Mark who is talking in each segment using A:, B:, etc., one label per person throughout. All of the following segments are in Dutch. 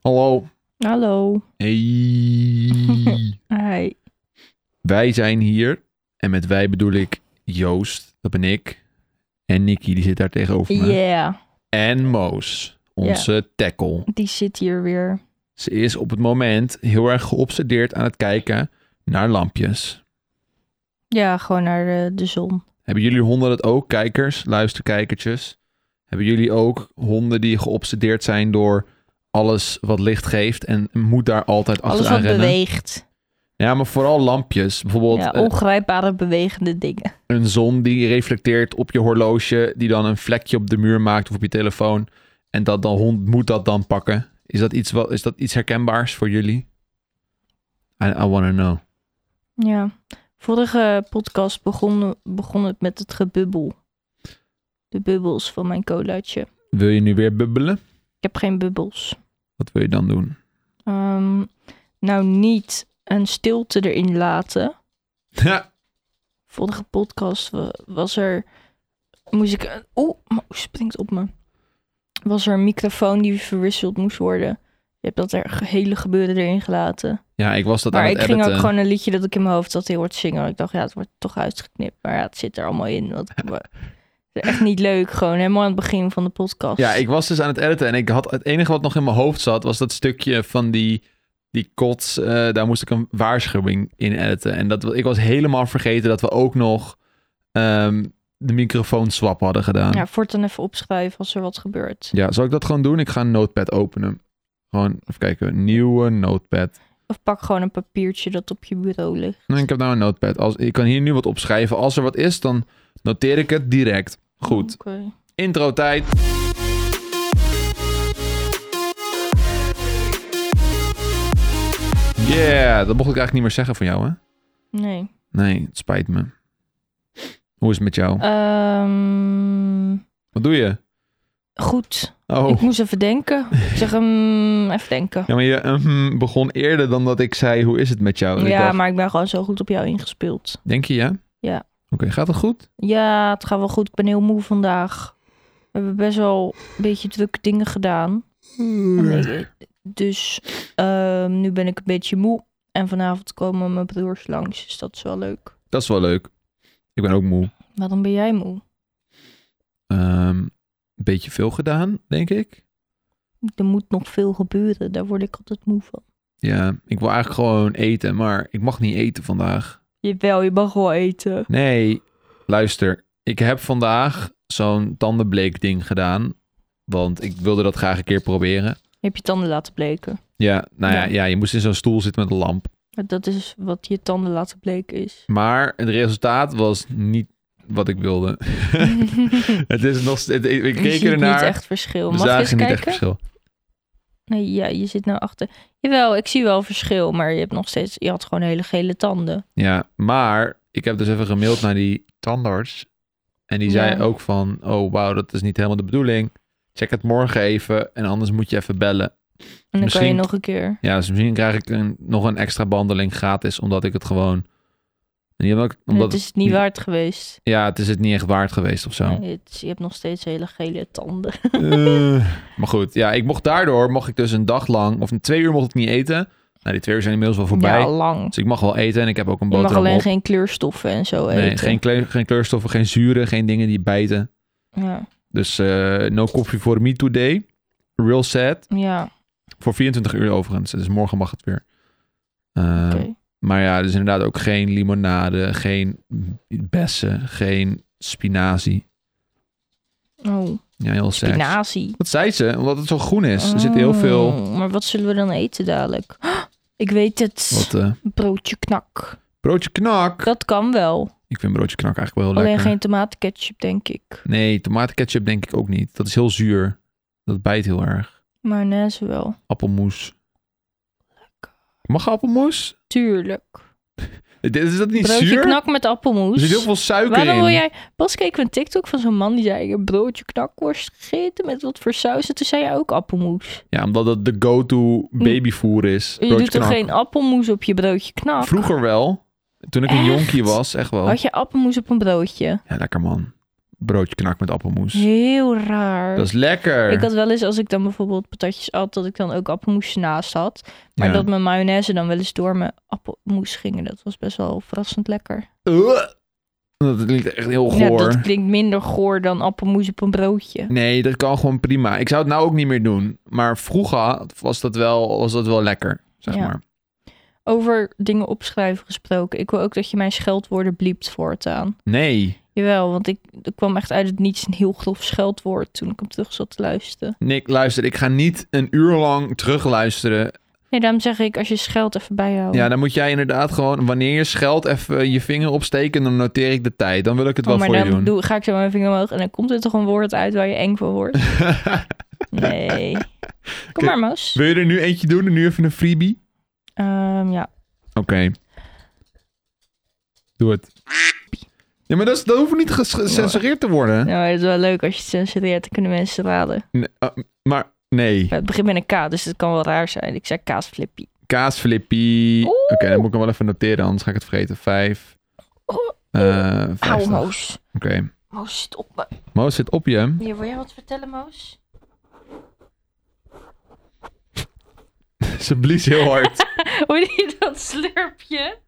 A: Hallo.
B: Hallo.
A: Hey.
B: Hi.
A: wij zijn hier. En met wij bedoel ik Joost, dat ben ik. En Nicky, die zit daar tegenover me.
B: Yeah.
A: En Moos, onze tackle.
B: Die zit hier weer.
A: Ze is op het moment heel erg geobsedeerd aan het kijken naar lampjes.
B: Ja, gewoon naar de, de zon.
A: Hebben jullie honden dat ook? Kijkers, luisterkijkertjes. Hebben jullie ook honden die geobsedeerd zijn door alles wat licht geeft en moet daar altijd
B: Alles
A: achteraan
B: wat
A: rennen?
B: beweegt.
A: Ja, maar vooral lampjes. Bijvoorbeeld
B: Ja,
A: eh,
B: ongrijpbare bewegende dingen.
A: een zon die reflecteert op je horloge, die dan een vlekje op de muur maakt of op je telefoon. En dat dan hond moet dat dan pakken. Is dat iets, wel, is dat iets herkenbaars voor jullie? I, I wanna know.
B: Ja. Vorige podcast begon, begon het met het gebubbel. De bubbels van mijn colaatje.
A: Wil je nu weer bubbelen?
B: Ik heb geen bubbels.
A: Wat wil je dan doen?
B: Ehm, nou, niet een stilte erin laten.
A: Ja,
B: Vorige podcast wa- was er. Moest ik. Oeh, Moos springt op me. Was er een microfoon die verwisseld moest worden? Je hebt dat er ge- hele gebeuren erin gelaten.
A: ja ik was dat
B: maar
A: aan
B: ik
A: het
B: ging
A: editen.
B: ook gewoon een liedje dat ik in mijn hoofd had heel hard zingen. Ik dacht, ja, het wordt toch uitgeknipt. Maar ja, het zit er allemaal in. Wat, wat- echt niet leuk. Gewoon helemaal aan het begin van de podcast.
A: Ja, ik was dus aan het editen en ik had, het enige wat nog in mijn hoofd zat, was dat stukje van die, die kots. eh, daar moest ik een waarschuwing in editen. En dat, ik was helemaal vergeten dat we ook nog ehm, de microfoon swap hadden gedaan.
B: Ja, voortaan even opschrijven als er wat gebeurt.
A: Ja, zal ik dat gewoon doen? Ik ga een notepad openen. Gewoon, even kijken, nieuwe notepad.
B: Of pak gewoon een papiertje dat op je bureau ligt.
A: Nee, ik heb nou een notepad. Als, ik kan hier nu wat opschrijven. Als er wat is, dan noteer ik het direct. Goed,
B: Oké.
A: intro tijd. Yeah, dat mocht ik eigenlijk niet meer zeggen van jou, hè?
B: Nee.
A: Nee, het spijt me. Hoe is het met jou?
B: Ehm,
A: Wat doe je?
B: goed. Ik
A: Oh,
B: moest even denken. Ik zeg hem even denken.
A: ja, maar je mhm, begon eerder dan dat ik zei, hoe is het met jou? En Oh, ik
B: ja,
A: dacht,
B: maar ik ben gewoon zo goed op jou ingespeeld.
A: Denk je ja?
B: Ja.
A: Oké, gaat het goed?
B: Ja, het gaat wel goed. Ik ben heel moe vandaag. We hebben best wel een beetje drukke dingen gedaan. Dus ehm, nu ben ik een beetje moe. En vanavond komen mijn broers langs. Dus dat is wel leuk.
A: Dat is wel leuk. Ik ben ook moe.
B: Waarom ben jij moe?
A: Ehm, een beetje veel gedaan, denk ik.
B: Er moet nog veel gebeuren. Daar word ik altijd moe van.
A: Ja, ik wil eigenlijk gewoon eten, maar ik mag niet eten vandaag.
B: Jawel, je mag wel eten.
A: Nee, luister. Ik heb vandaag zo'n tandenbleek ding gedaan. Want ik wilde dat graag een keer proberen.
B: Heb je tanden laten bleken?
A: Ja, nou ja,
B: Ja.
A: ja je moest in zo'n stoel zitten met een lamp.
B: Dat is wat je tanden laten bleken is.
A: Maar het resultaat was niet wat ik wilde. het is nog steeds... Ik, ik
B: je
A: keek
B: ziet niet
A: ernaar.
B: echt verschil.
A: We
B: Mag ik eens
A: zagen niet
B: kijken?
A: echt verschil.
B: Nee, ja, je zit nou achter. Jawel, ik zie wel verschil, maar je hebt nog steeds. Je had gewoon hele gele tanden.
A: Ja, maar ik heb dus even gemaild naar die tandarts. En die zei
B: Ja.
A: ook van, oh wauw, dat is niet helemaal de bedoeling. Check het morgen even en anders moet je even bellen.
B: En dan kan
A: Misschien-
B: je nog een keer.
A: Ja, dus misschien krijg ik een, nog een extra behandeling gratis, omdat ik het gewoon... En die hebben ook-
B: Omdat
A: omdat,
B: het is het niet waard geweest.
A: Ja, het is het niet echt waard geweest of zo.
B: Nee, het is- je hebt nog steeds hele gele tanden.
A: Eh, maar goed, ja, ik mocht daardoor, mocht ik dus een dag lang, of een twee uur mocht ik niet eten. Nou, die twee uur zijn inmiddels wel voorbij.
B: Ja, lang.
A: Dus ik mag wel eten en ik heb ook een
B: Je mag
A: boterham
B: alleen
A: op.
B: geen kleurstoffen en zo
A: nee,
B: eten.
A: geen, kleur- geen kleurstoffen, geen zuren, geen dingen die bijten.
B: Ja.
A: Dus eh, no coffee for me today. Real sad.
B: ja.
A: Voor 24 uur overigens. Dus morgen mag het weer. Eh,
B: Oké.
A: Maar ja, dus inderdaad ook geen limonade, geen bessen, geen spinazie.
B: Oh,
A: Ja, heel sad.
B: spinazie.
A: Dat zei ze, omdat het zo groen is. Dus Er zit heel veel...
B: Oh, Maar wat zullen we dan eten dadelijk? Ik weet het.
A: Wat, eh,
B: Broodje knak.
A: broodje knak.
B: Dat kan wel.
A: Ik vind broodje knak eigenlijk wel heel
B: Alleen
A: lekker.
B: geen tomatenketchup, denk ik.
A: Nee, tomatenketchup denk ik ook niet. Dat is heel zuur. Dat bijt heel erg.
B: Mayonaise wel.
A: Appelmoes. Mag appelmoes?
B: Tuurlijk.
A: Dit- Is dat niet
B: Broodje
A: zuur?
B: knak met appelmoes.
A: Er zit heel veel suiker
B: Waarom
A: in.
B: wil jij... Pas keek we een TikTok van zo'n man die zei... Ik heb broodje knakworst gegeten met wat voor saus. En toen zei jij ook appelmoes.
A: Ja, omdat het de go-to babyvoer is.
B: Mm. Je
A: Broodje
B: doet toch
A: knak.
B: geen appelmoes op je broodje knak?
A: Vroeger wel. Toen ik een
B: Echt?
A: jonkie was, echt wel.
B: Had je appelmoes op een broodje?
A: Ja, lekker man. broodje knak met appelmoes.
B: Heel raar.
A: Dat is lekker.
B: Ik had wel eens, als ik dan bijvoorbeeld patatjes at, dat ik dan ook appelmoes naast had. Maar
A: Ja.
B: dat mijn mayonaise dan wel eens door mijn appelmoes ging. En dat was best wel verrassend lekker.
A: Ugh. Dat klinkt echt heel
B: Ja,
A: goor.
B: dat klinkt minder goor dan appelmoes op een broodje.
A: Nee, dat kan gewoon prima. Ik zou het nou ook niet meer doen. Maar vroeger was dat wel, was dat wel lekker, zeg
B: Ja.
A: maar.
B: Over dingen opschrijven gesproken. Ik wil ook dat je mijn scheldwoorden bliept voortaan.
A: Nee,
B: Jawel, want ik, er kwam echt uit het niets een heel grof scheldwoord toen ik hem terug zat te luisteren.
A: Nick, luister, ik ga niet een uur lang terugluisteren.
B: Nee, daarom zeg ik, als je scheld even bijhouden.
A: Ja, dan moet jij inderdaad gewoon, wanneer je scheldt, even eh, je vinger opsteken. En dan noteer ik de tijd. Dan wil ik het wel
B: Oh, maar
A: voor je
B: dan
A: doen.
B: doe- ga ik zo mijn vinger omhoog en dan komt er toch een woord uit waar je eng van wordt. Nee. Kom maar, Moos.
A: wil je er nu eentje doen en nu even een freebie?
B: Ehm, ja.
A: Oké. Doe het. Ja, maar dat, is, dat hoeft niet ges- gecensureerd te worden.
B: Nou, het is wel leuk als je het censureert. Dan kunnen mensen raden.
A: Nee, eh, maar nee,
B: Het begint met een K, dus het kan wel raar zijn. Ik zei kaasflippie.
A: kaasflippie.
B: Oeh.
A: Oké, dan moet ik hem wel even noteren, anders ga ik het vergeten. Vijf.
B: Oeh.
A: eh,
B: Au,
A: vijftig. Oké.
B: Oh, Moos. Moos, zit op me.
A: Moos zit op je.
B: Hier, wil jij wat vertellen, Moos?
A: Ze blies heel hard.
B: Hoor je dat slurpje?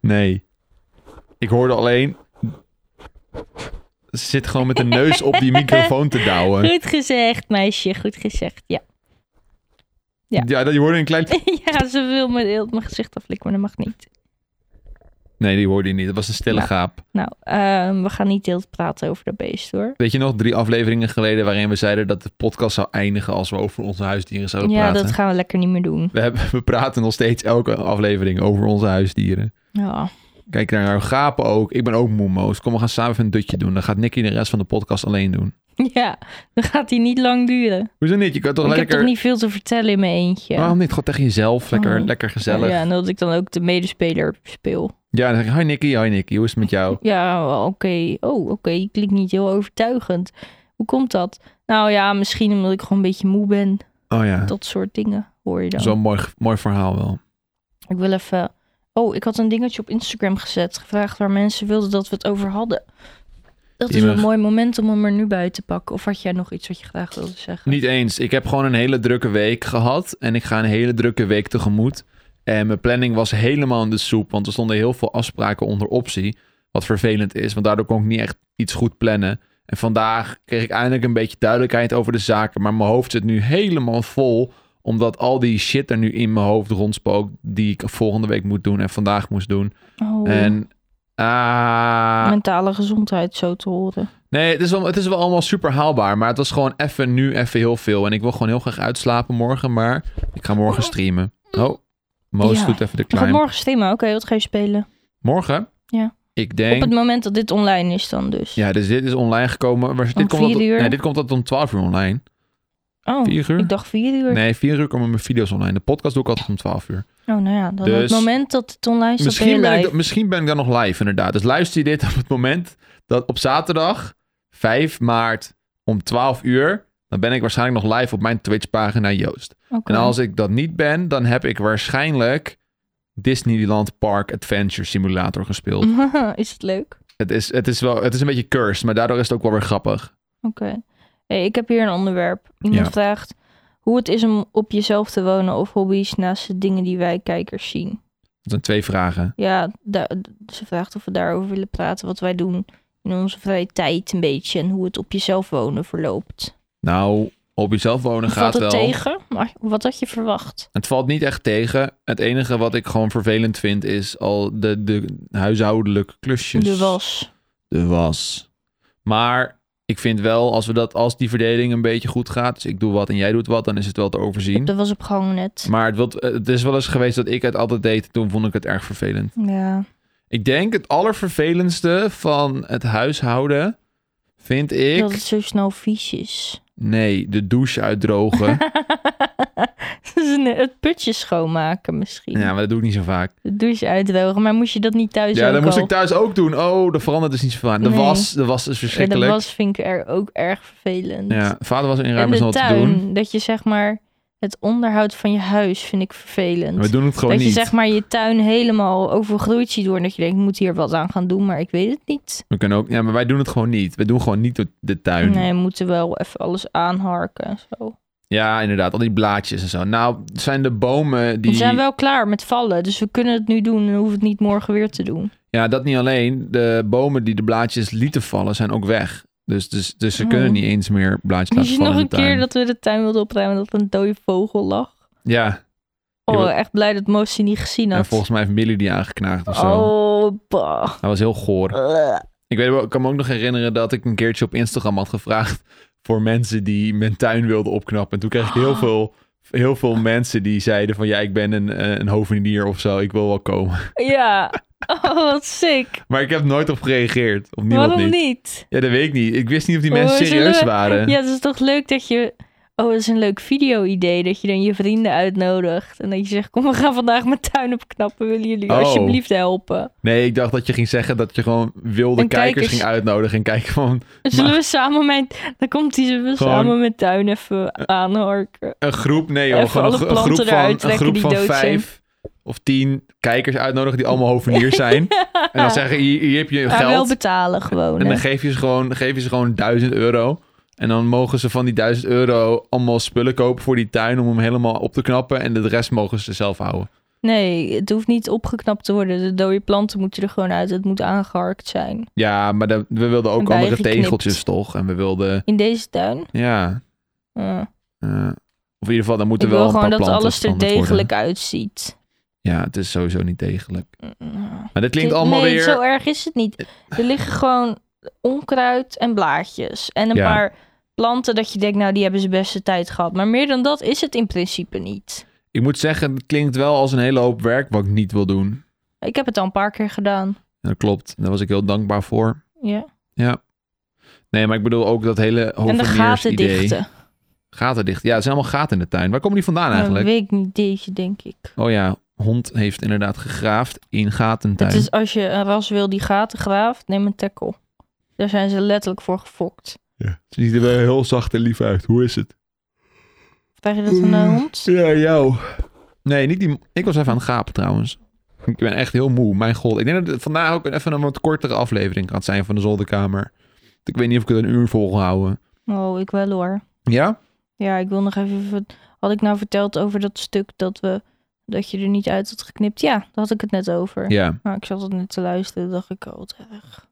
A: Nee. Ik hoorde alleen. Ze zit gewoon met de neus op die microfoon te douwen.
B: Goed gezegd, meisje. Goed gezegd, ja.
A: Ja,
B: Ja.
A: dat, je hoorde een klein.
B: ja, ze wil me heel mijn gezicht aflikken, maar dat mag niet.
A: Nee, die hoorde je niet. Dat was een stille
B: Ja.
A: gaap.
B: Nou, ehm, we gaan niet heel praten over dat beest, hoor.
A: Weet je nog, drie afleveringen geleden waarin we zeiden dat de podcast zou eindigen als we over onze huisdieren zouden
B: ja,
A: praten.
B: dat gaan we lekker niet meer doen.
A: We, hebben, we praten nog steeds elke aflevering over onze huisdieren.
B: Ja.
A: Kijk naar haar gapen ook. Ik ben ook moe, Moos. Kom, we gaan samen even een dutje doen. Dan gaat Nicky de rest van de podcast alleen doen.
B: ja, dan gaat die niet lang duren.
A: Hoezo niet? Je kan toch
B: ik heb
A: lekker...
B: toch niet veel te vertellen in mijn eentje.
A: Waarom niet? Gewoon tegen jezelf. Lekker,
B: Oh.
A: lekker gezellig.
B: Ja, en dat ik dan ook de medespeler speel.
A: Ja, dan zeg ik, hi Nicky, hi Nicky, hoe is het met jou?
B: Ja, oké. Oh, oké. Ik klinkt niet heel overtuigend. Hoe komt dat? Nou ja, misschien omdat ik gewoon een beetje moe ben.
A: Oh ja,
B: Dat soort dingen hoor je dan.
A: zo'n mooi, mooi verhaal wel.
B: Ik wil even... Oh, ik had een dingetje op Instagram gezet. Gevraagd waar mensen wilden dat we het over hadden. Dat is
A: Jemig.
B: een mooi moment om hem er nu bij te pakken. Of had jij nog iets wat je graag wilde zeggen?
A: Niet eens, ik heb gewoon een hele drukke week gehad en ik ga een hele drukke week tegemoet. En mijn planning was helemaal in de soep, want er stonden heel veel afspraken onder optie. Wat vervelend is, want daardoor kon ik niet echt iets goed plannen. En vandaag kreeg ik eindelijk een beetje duidelijkheid over de zaken, maar mijn hoofd zit nu helemaal vol omdat al die shit er nu in mijn hoofd rondspookt die ik volgende week moet doen en vandaag moest doen.
B: Oh,
A: En ah,
B: mentale gezondheid zo te horen.
A: Nee, het is, wel, het is wel allemaal super haalbaar. Maar het was gewoon even nu even heel veel. En ik wil gewoon heel graag uitslapen morgen. Maar ik ga morgen streamen. Oh, Moos
B: Ja.
A: doet even de
B: We gaan
A: klein.
B: morgen streamen. Oké, wat ga je spelen?
A: Morgen?
B: Ja.
A: Ik
B: Op het
A: denk...
B: moment dat dit online is dan dus.
A: Ja, dus dit is online gekomen. Maar dit, komt
B: vier
A: altijd-
B: uur?
A: Nee, dit komt altijd om 12 uur online.
B: oh,
A: 4 uur?
B: ik dacht vier uur.
A: Nee, 4 uur komen mijn video's online. De podcast doe ik altijd om 12 uur.
B: Oh, nou ja, dan op
A: Dus-
B: het moment dat het online staat
A: Misschien ben, ik,
B: live.
A: dan- misschien ben ik dan nog live, inderdaad. Dus luister je dit op het moment dat op zaterdag 5 maart om 12 uur... dan ben ik waarschijnlijk nog live op mijn Twitch-pagina Joost.
B: Oké.
A: En als ik dat niet ben, dan heb ik waarschijnlijk Disneyland Park Adventure Simulator gespeeld.
B: Mhm. is het leuk?
A: Het, is, het, is wel, het is een beetje cursed, maar daardoor is het ook wel weer grappig.
B: Oké. Hey, ik heb hier een onderwerp. Iemand
A: Ja.
B: vraagt hoe het is om op jezelf te wonen of hobby's naast de dingen die wij kijkers zien.
A: Dat zijn twee vragen.
B: Ja, da- d- ze vraagt of we daarover willen praten, wat wij doen in onze vrije tijd een beetje en hoe het op jezelf wonen verloopt.
A: Nou, op jezelf wonen
B: Valt
A: gaat
B: het
A: wel.
B: tegen? Maar wat had je verwacht?
A: Het valt niet echt tegen. Het enige wat ik gewoon vervelend vind is al de, de huishoudelijke klusjes.
B: De was.
A: De was. Maar ik vind wel, als, we dat, als die verdeling een beetje goed gaat, dus ik doe wat en jij doet wat, dan is het wel te overzien.
B: De was op gang net.
A: Maar het, wilt- het is wel eens geweest dat ik het altijd deed. Toen vond ik het erg vervelend.
B: Ja.
A: Ik denk het allervervelendste van het huishouden vind ik...
B: Dat het zo snel vies is.
A: Nee, de douche uitdrogen.
B: Dus een- het putje schoonmaken misschien.
A: ja, maar dat doe ik niet zo vaak.
B: De douche uitdrogen. Maar moest je dat niet thuis
A: Ja,
B: ook
A: dat moest
B: al?
A: ik thuis ook doen. Oh, dat verandert dus niet zo vaak. De,
B: Nee.
A: was, de was is
B: Ja, dat
A: verschrikkelijk.
B: was vind ik er ook erg vervelend.
A: Ja, vader was
B: en
A: inruimen is
B: de
A: nog wat te doen.
B: tuin, dat je zeg maar Het onderhoud van je huis vind ik vervelend.
A: We doen het gewoon
B: dat je
A: niet.
B: zeg maar je tuin helemaal overgroeid ziet worden. Dat je denkt, ik moet hier wat aan gaan doen, maar ik weet het niet.
A: We kunnen ook, ja, maar wij doen het gewoon niet. We doen gewoon niet de- de tuin.
B: Nee, we moeten wel even alles aanharken en zo.
A: Ja, inderdaad. Al die blaadjes en zo. Nou, het zijn de bomen die...
B: We zijn wel klaar met vallen, dus we kunnen het nu doen en hoeven we het niet morgen weer te doen.
A: Ja, dat niet alleen. De bomen die de blaadjes lieten vallen zijn ook weg. Dus, dus, dus ze
B: Oh.
A: kunnen niet eens meer blaadjes
B: Weet
A: laten
B: je
A: vallen
B: nog
A: in
B: een
A: de tuin.
B: keer dat we de tuin wilden opruimen dat er een dode vogel lag?
A: Ja,
B: Oh,
A: wil-
B: echt blij dat Mosi niet gezien
A: en
B: had.
A: volgens mij heeft Millie die aangeknaagd of zo.
B: oh, bah.
A: Dat was heel goor.
B: Ugh.
A: Ik, weet, wel- ik kan me ook nog herinneren dat ik een keertje op Instagram had gevraagd voor mensen die mijn tuin wilden opknappen. En toen kreeg ik heel
B: Oh.
A: veel, heel veel mensen die zeiden van ja, ik ben een, eh, een hovenier of zo, ik wil wel komen.
B: Ja. Oh, wat sick.
A: Maar ik heb nooit op gereageerd. Op niemand
B: Waarom
A: niet.
B: niet?
A: Ja, dat weet ik niet. Ik wist niet of die
B: Oh,
A: mensen
B: zullen
A: serieus
B: we-
A: waren.
B: Ja, het is toch leuk dat je... Oh, dat is een leuk video-idee. Dat je dan je vrienden uitnodigt. En dat je zegt, kom, we gaan vandaag mijn tuin opknappen. Willen jullie
A: Oh.
B: alsjeblieft helpen?
A: Nee, ik dacht dat je ging zeggen dat je gewoon wilde
B: En
A: kijkers
B: kijkers.
A: ging uitnodigen en kijken van
B: Zullen we samen mijn... Dan komt die, zullen we
A: Gewoon-
B: samen mijn tuin even aanharken?
A: een groep, nee joh,
B: Even
A: gewoon een,
B: alle
A: gro- een
B: planten
A: groep van,
B: eruit
A: een
B: trekken
A: groep
B: die
A: van
B: dood zijn.
A: vijf of tien kijkers uitnodigen die allemaal hoveniers zijn. En dan zeggen, hier, hier heb je
B: Maar Ah, wel
A: geld.
B: betalen gewoon.
A: En
B: hè.
A: dan geef je ze gewoon, geef je ze gewoon 1000 euro. En dan mogen ze van die 1000 euro allemaal spullen kopen voor die tuin om hem helemaal op te knappen. En de rest mogen ze zelf houden.
B: Nee, het hoeft niet opgeknapt te worden. De dode planten moeten er gewoon uit. Het moet aangeharkt zijn.
A: Ja, maar dat- we wilden ook
B: En
A: andere
B: bijgeknipt.
A: tegeltjes toch? En we wilden,
B: In deze tuin? Ah.
A: ja.
B: Ja.
A: eh, of in ieder geval, dan moeten
B: Ik
A: wel
B: wil
A: een paar
B: gewoon dat
A: planten
B: alles er
A: veranderd worden.
B: degelijk uitziet.
A: Ja, het is sowieso niet degelijk.
B: Mm.
A: Maar dit klinkt allemaal
B: nee,
A: weer...
B: zo erg is het niet. Er liggen gewoon onkruid en blaadjes. En een
A: Ja.
B: paar planten dat je denkt, nou, die hebben ze beste tijd gehad. Maar meer dan dat is het in principe niet.
A: Ik moet zeggen, het klinkt wel als een hele hoop werk wat ik niet wil doen.
B: Ik heb het al een paar keer gedaan.
A: En dat klopt. Daar was ik heel dankbaar voor.
B: Ja.
A: Ja. Nee, maar ik bedoel ook dat hele
B: En de gaten
A: idee.
B: dichten.
A: Gaten dicht. Ja, er zijn allemaal gaten in de tuin. Waar komen die vandaan
B: Dat
A: eigenlijk?
B: weet ik niet, deze denk ik.
A: Oh ja, hond heeft inderdaad gegraafd in gatentuin.
B: Het is als je een ras wil die gaten graaft, neem een tackle. Daar zijn ze letterlijk voor gefokt.
A: Ja. Ze ziet er wel heel zacht en lief uit. Hoe is het?
B: Vraag je dat aan
A: Mm.
B: de hond?
A: Ja, jou. Nee, niet die... Ik was even aan het gapen trouwens. Ik ben echt heel moe. Mijn god. Ik denk dat het vandaag ook even een wat kortere aflevering gaat zijn van de zolderkamer. Ik weet niet of ik het een uur vol ga houden.
B: Oh, ik wel hoor.
A: Ja?
B: Ja, ik wil nog even. ver- Had ik nou verteld over dat stuk dat we. dat je er niet uit had geknipt? Ja, daar had ik het net over.
A: Ja.
B: Maar ik zat het net te luisteren, dacht ik, oh, wat erg.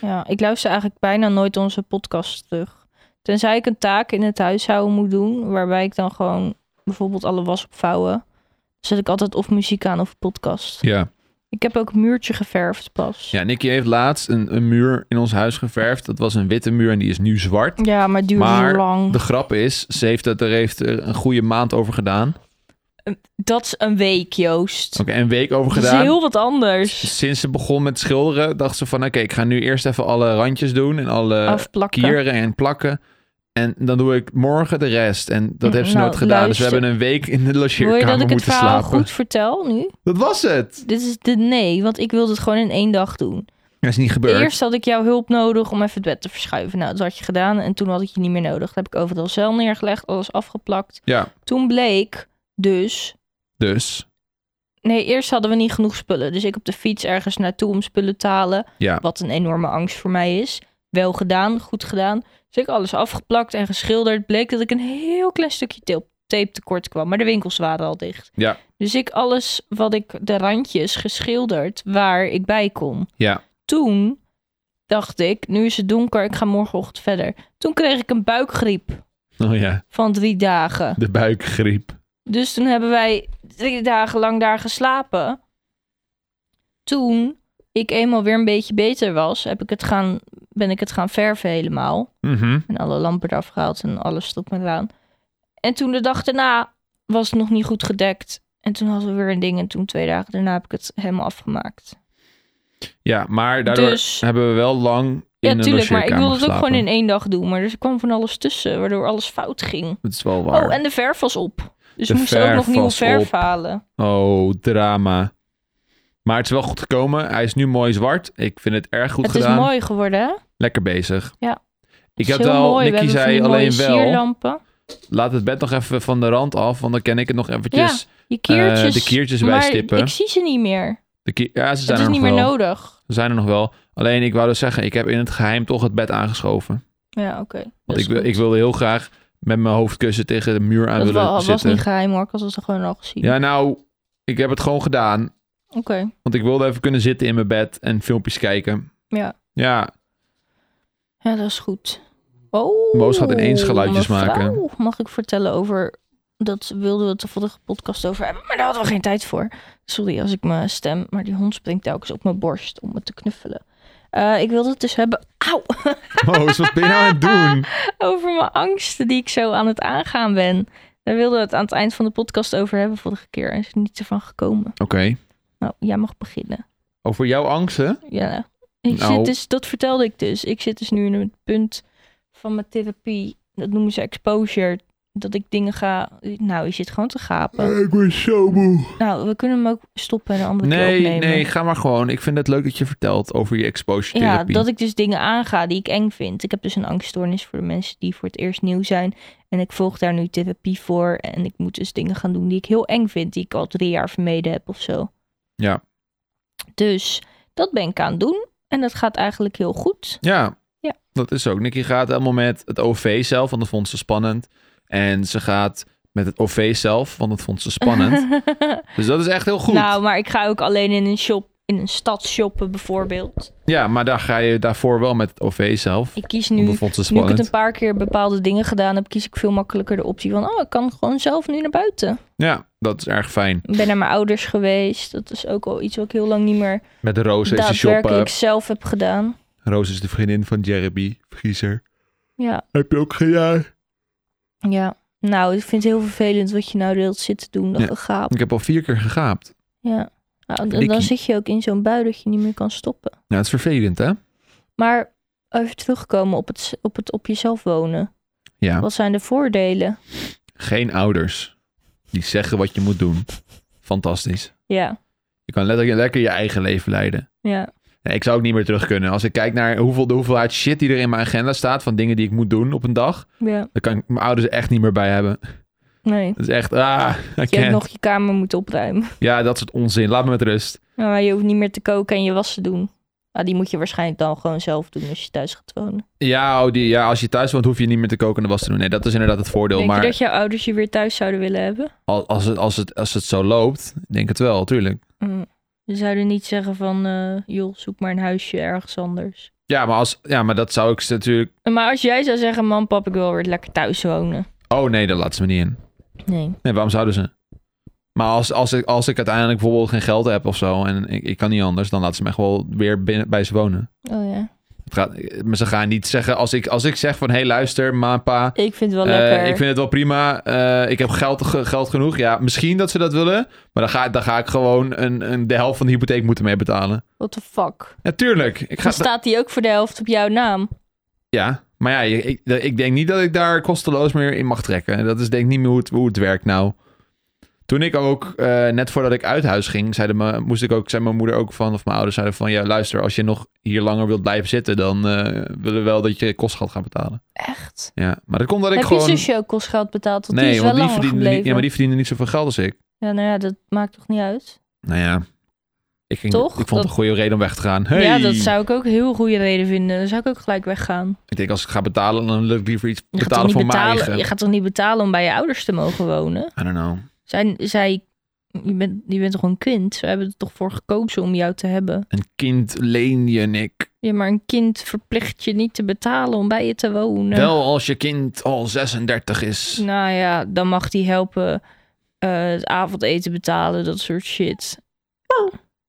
B: Ja, ik luister eigenlijk bijna nooit onze podcast terug. Tenzij ik een taak in het huishouden moet doen, waarbij ik dan gewoon bijvoorbeeld alle was opvouwen. Dan zet ik altijd of muziek aan of podcast.
A: ja.
B: Ik heb ook een muurtje geverfd pas.
A: Ja, Nicky heeft laatst een, een muur in ons huis geverfd. Dat was een witte muur en die is nu zwart.
B: Ja, maar het duurde
A: Maar
B: heel lang.
A: De grap is, ze heeft het, er heeft er een goede maand over gedaan. Oké,
B: Dat is een week, Joost.
A: een week over
B: Dat is
A: gedaan. Dus,
B: heel wat anders.
A: Sinds ze begon met schilderen, dacht ze van... Oké, ik ga nu eerst even alle randjes doen en alle
B: Afplakken.
A: kieren en plakken. En dan doe ik morgen de rest. En dat
B: Mm,
A: heeft ze
B: nou,
A: nooit gedaan.
B: luister.
A: Dus we hebben een week in de
B: Wil je dat
A: logeerkamer
B: ik het
A: moeten
B: verhaal
A: slapen.
B: goed vertel nu?
A: Dat was het.
B: Dit is de nee, want ik wilde het gewoon in één dag doen.
A: Dat is niet gebeurd.
B: Eerst had ik jouw hulp nodig om even het bed te verschuiven. Nou, dat had je gedaan en toen had ik je niet meer nodig. Dat heb ik overal zeil neergelegd, alles afgeplakt.
A: Ja,
B: Toen bleek dus...
A: dus.
B: Nee, eerst hadden we niet genoeg spullen. Dus ik op de fiets ergens naartoe om spullen te halen.
A: Ja,
B: Wat een enorme angst voor mij is. Wel gedaan, goed gedaan. Dus ik alles afgeplakt en geschilderd. Bleek dat ik een heel klein stukje tape, tape tekort kwam. Maar de winkels waren al dicht.
A: Ja.
B: Dus ik alles wat ik, de randjes geschilderd waar ik bij kon.
A: ja.
B: Toen dacht ik, nu is het donker, ik ga morgenochtend verder. Toen kreeg ik een buikgriep
A: Oh ja,
B: van drie dagen.
A: de buikgriep.
B: Dus toen hebben wij drie dagen lang daar geslapen. Toen ik eenmaal weer een beetje beter was, heb ik het gaan, ben ik het gaan verven helemaal.
A: Mhm.
B: En alle lampen eraf gehaald en alles erop en eraan. En toen de dag daarna was het nog niet goed gedekt. En toen hadden we weer een ding. En toen twee dagen daarna heb ik het helemaal afgemaakt.
A: Ja, maar daardoor
B: Dus-
A: hebben we wel lang in
B: Ja,
A: een
B: tuurlijk. Maar ik
A: logeerkamer
B: wilde het ook
A: geslapen.
B: gewoon in één dag doen. Maar er kwam van alles tussen, waardoor alles fout ging.
A: Het is wel waar.
B: Oh, en de verf was op. Dus
A: De
B: we moesten ook
A: verf
B: nog nieuw
A: was
B: verf
A: op.
B: halen.
A: Oh, drama. Maar het is wel goed gekomen. Hij is nu mooi zwart. Ik vind het erg goed
B: Het
A: gedaan.
B: is mooi geworden, hè?
A: Lekker bezig.
B: Ja.
A: Ik
B: Het
A: heb
B: is heel
A: wel,
B: mooi. We
A: Nicky
B: hebben van
A: zei
B: die mooie
A: alleen wel
B: sierlampen.
A: laat het bed nog even van de rand af, want dan kan ik het nog eventjes...
B: Je keertjes.
A: eh, de keertjes bijstippen.
B: Maar ik zie ze niet meer.
A: De ki- ja, ze zijn
B: Het
A: er nog
B: is niet meer
A: wel.
B: nodig.
A: Ze zijn er nog wel. Alleen ik wou dus zeggen, ik heb in het geheim toch het bed aangeschoven.
B: Ja, oké. Dat
A: Want
B: is
A: ik, wil,
B: goed.
A: ik wilde heel graag met mijn hoofdkussen tegen de muur aan
B: Dat
A: willen
B: wa- was,
A: zitten.
B: niet geheim hoor, ik had het gewoon al gezien.
A: ja, nou, ik heb het gewoon gedaan.
B: Oké,
A: Want ik wilde even kunnen zitten in mijn bed en filmpjes kijken.
B: Ja.
A: Ja,
B: ja, dat is goed. Oh,
A: Moos gaat ineens geluidjes
B: mevrouw,
A: maken.
B: Mag ik vertellen over. Dat wilden we het de vorige podcast over hebben, maar daar hadden we geen tijd voor. Sorry als ik mijn stem, maar die hond springt telkens op mijn borst om me te knuffelen. Eh, ik wilde het dus hebben. Auw!
A: Moos, wat ben je nou aan het doen?
B: over mijn angsten die ik zo aan het aangaan ben. Daar wilden we het aan het eind van de podcast over hebben vorige keer. En is er niet ervan gekomen.
A: Oké.
B: Nou, jij mag beginnen.
A: Over jouw angsten?
B: Ja. Ik
A: Nou.
B: zit dus, dat vertelde ik dus. Ik zit dus nu in het punt van mijn therapie. Dat noemen ze exposure. Dat ik dingen ga... Nou, je zit gewoon te gapen.
A: Ik ben zo moe.
B: Nou, we kunnen hem ook stoppen en een andere keer
A: Nee,
B: opnemen.
A: nee, ga maar gewoon. Ik vind het leuk dat je vertelt over je exposure
B: Ja,
A: therapie.
B: dat ik dus dingen aanga die ik eng vind. Ik heb dus een angststoornis voor de mensen die voor het eerst nieuw zijn. En ik volg daar nu therapie voor. En ik moet dus dingen gaan doen die ik heel eng vind. Die ik al drie jaar vermeden heb of zo.
A: Ja.
B: Dus dat ben ik aan het doen. En dat gaat eigenlijk heel goed.
A: Ja.
B: Ja.
A: Dat is ook. Nicky gaat helemaal met het OV zelf, want dat vond ze spannend. En ze gaat met het OV zelf, want dat vond ze spannend. dus dat is echt heel goed.
B: nou, maar ik ga ook alleen in een shop, in een stad shoppen bijvoorbeeld.
A: Ja, maar daar ga je daarvoor wel met het OV zelf.
B: Ik kies
A: want
B: nu
A: dat vond ze
B: Nu ik
A: spannend.
B: het een paar keer bepaalde dingen gedaan heb, kies ik veel makkelijker de optie van... oh, ik kan gewoon zelf nu naar buiten.
A: Ja, dat is erg fijn.
B: Ik ben naar mijn ouders geweest. Dat is ook al iets wat ik heel lang niet meer
A: Met Roos is de
B: daadwerkelijk
A: shoppen.
B: zelf heb gedaan.
A: Roos is de vriendin van Jeremy Vriezer.
B: Ja,
A: Heb je ook gedaan?
B: ja. Nou, ik vind het heel vervelend wat je nou de hele tijd zit te doen. Dat
A: Ja.
B: gegaap.
A: Ik heb al vier keer gegaapt.
B: Ja. Nou, dan,
A: Dikkie.
B: dan zit je ook in zo'n bui dat je niet meer kan stoppen.
A: Ja, het is vervelend, hè?
B: Maar even terugkomen op het, op het op jezelf wonen.
A: Ja.
B: Wat zijn de voordelen?
A: Geen ouders die zeggen wat je moet doen. Fantastisch.
B: Ja,
A: Je kan letterlijk lekker je eigen leven leiden.
B: ja.
A: Nee, ik zou ook niet meer terug kunnen. Als ik kijk naar hoeveel, de hoeveelheid shit die er in mijn agenda staat... van dingen die ik moet doen op een dag...
B: ja.
A: dan kan ik mijn ouders er echt niet meer bij hebben.
B: Nee.
A: Dat is echt, ah, I
B: Je hebt
A: can't.
B: nog je kamer moeten opruimen.
A: Ja, dat soort onzin. Laat me met rust.
B: Ja, Maar je hoeft niet meer te koken en je was te doen. Nou, die moet je waarschijnlijk dan gewoon zelf doen als je thuis gaat wonen.
A: Ja, oh, die, ja, als je thuis woont hoef je niet meer te koken en de was te doen. Nee, dat is inderdaad het voordeel.
B: Denk
A: maar
B: je dat jouw ouders je weer thuis zouden willen hebben?
A: al- als, het, als, het, als het zo loopt, denk het wel, tuurlijk.
B: Mm. Ze zouden niet zeggen van, eh, joh, zoek maar een huisje ergens anders.
A: Ja maar, als, ja, maar dat zou ik ze natuurlijk...
B: Maar als jij zou zeggen, man, pap, ik wil weer lekker thuis wonen.
A: Oh nee, dat laat ze me niet in.
B: Nee.
A: Nee, waarom zouden ze? Maar als, als, ik, als ik uiteindelijk bijvoorbeeld geen geld heb of zo... en ik, ik kan niet anders, dan laat ze me echt wel weer binnen, bij ze wonen.
B: Oh ja.
A: Het gaat, maar ze gaan niet zeggen, als ik, als ik zeg van, hé hey, luister, ma, pa,
B: Ik vind het wel
A: eh,
B: lekker.
A: ik vind het wel prima, eh, ik heb geld, ge- geld genoeg. Ja, misschien dat ze dat willen, maar dan ga, dan ga ik gewoon een, een, de helft van de hypotheek moeten mee betalen.
B: What the fuck?
A: Natuurlijk, ik ga...
B: Dan staat die ook voor de helft op jouw naam.
A: Ja, maar ja, ik, ik- ik denk niet dat ik daar kosteloos meer in mag trekken. En Dat is denk ik niet meer hoe het, hoe het werkt nou. Toen ik ook, eh, net voordat ik uit huis ging, zeiden me, moest ik ook, zei mijn moeder ook van, of mijn ouders zeiden van, ja luister, als je nog hier langer wilt blijven zitten, dan eh, willen we wel dat je kosten gaat gaan betalen.
B: Echt?
A: Ja, maar dat komt dat ik
B: Heb
A: gewoon...
B: je zusje ook kostgeld betaald? Want die
A: nee,
B: is wel
A: want die
B: langer
A: verdiende,
B: gebleven.
A: niet, ja, maar die verdiende niet zoveel geld als ik.
B: Ja, nou ja, dat maakt toch niet uit?
A: Nou ja, ik, ging,
B: Toch?
A: ik vond
B: Dat-
A: het een goede reden om weg te gaan. Hey!
B: Ja, dat zou ik ook heel goede reden vinden. Dan zou ik ook gelijk weggaan.
A: Ik denk, als ik ga betalen, dan lukt liever iets
B: Je gaat,
A: betalen
B: toch
A: voor
B: niet
A: mijn
B: betalen,
A: eigen.
B: je gaat toch niet betalen om bij je ouders te mogen wonen?
A: I don't know.
B: Zij, zij, je, bent, je bent toch een kind? Ze hebben er toch voor gekozen om jou te hebben?
A: Een kind leen je, Nick.
B: Ja, maar een kind verplicht je niet te betalen om bij je te wonen.
A: Wel als je kind al 36 is.
B: Nou ja, dan mag die helpen eh, het avondeten betalen, dat soort shit.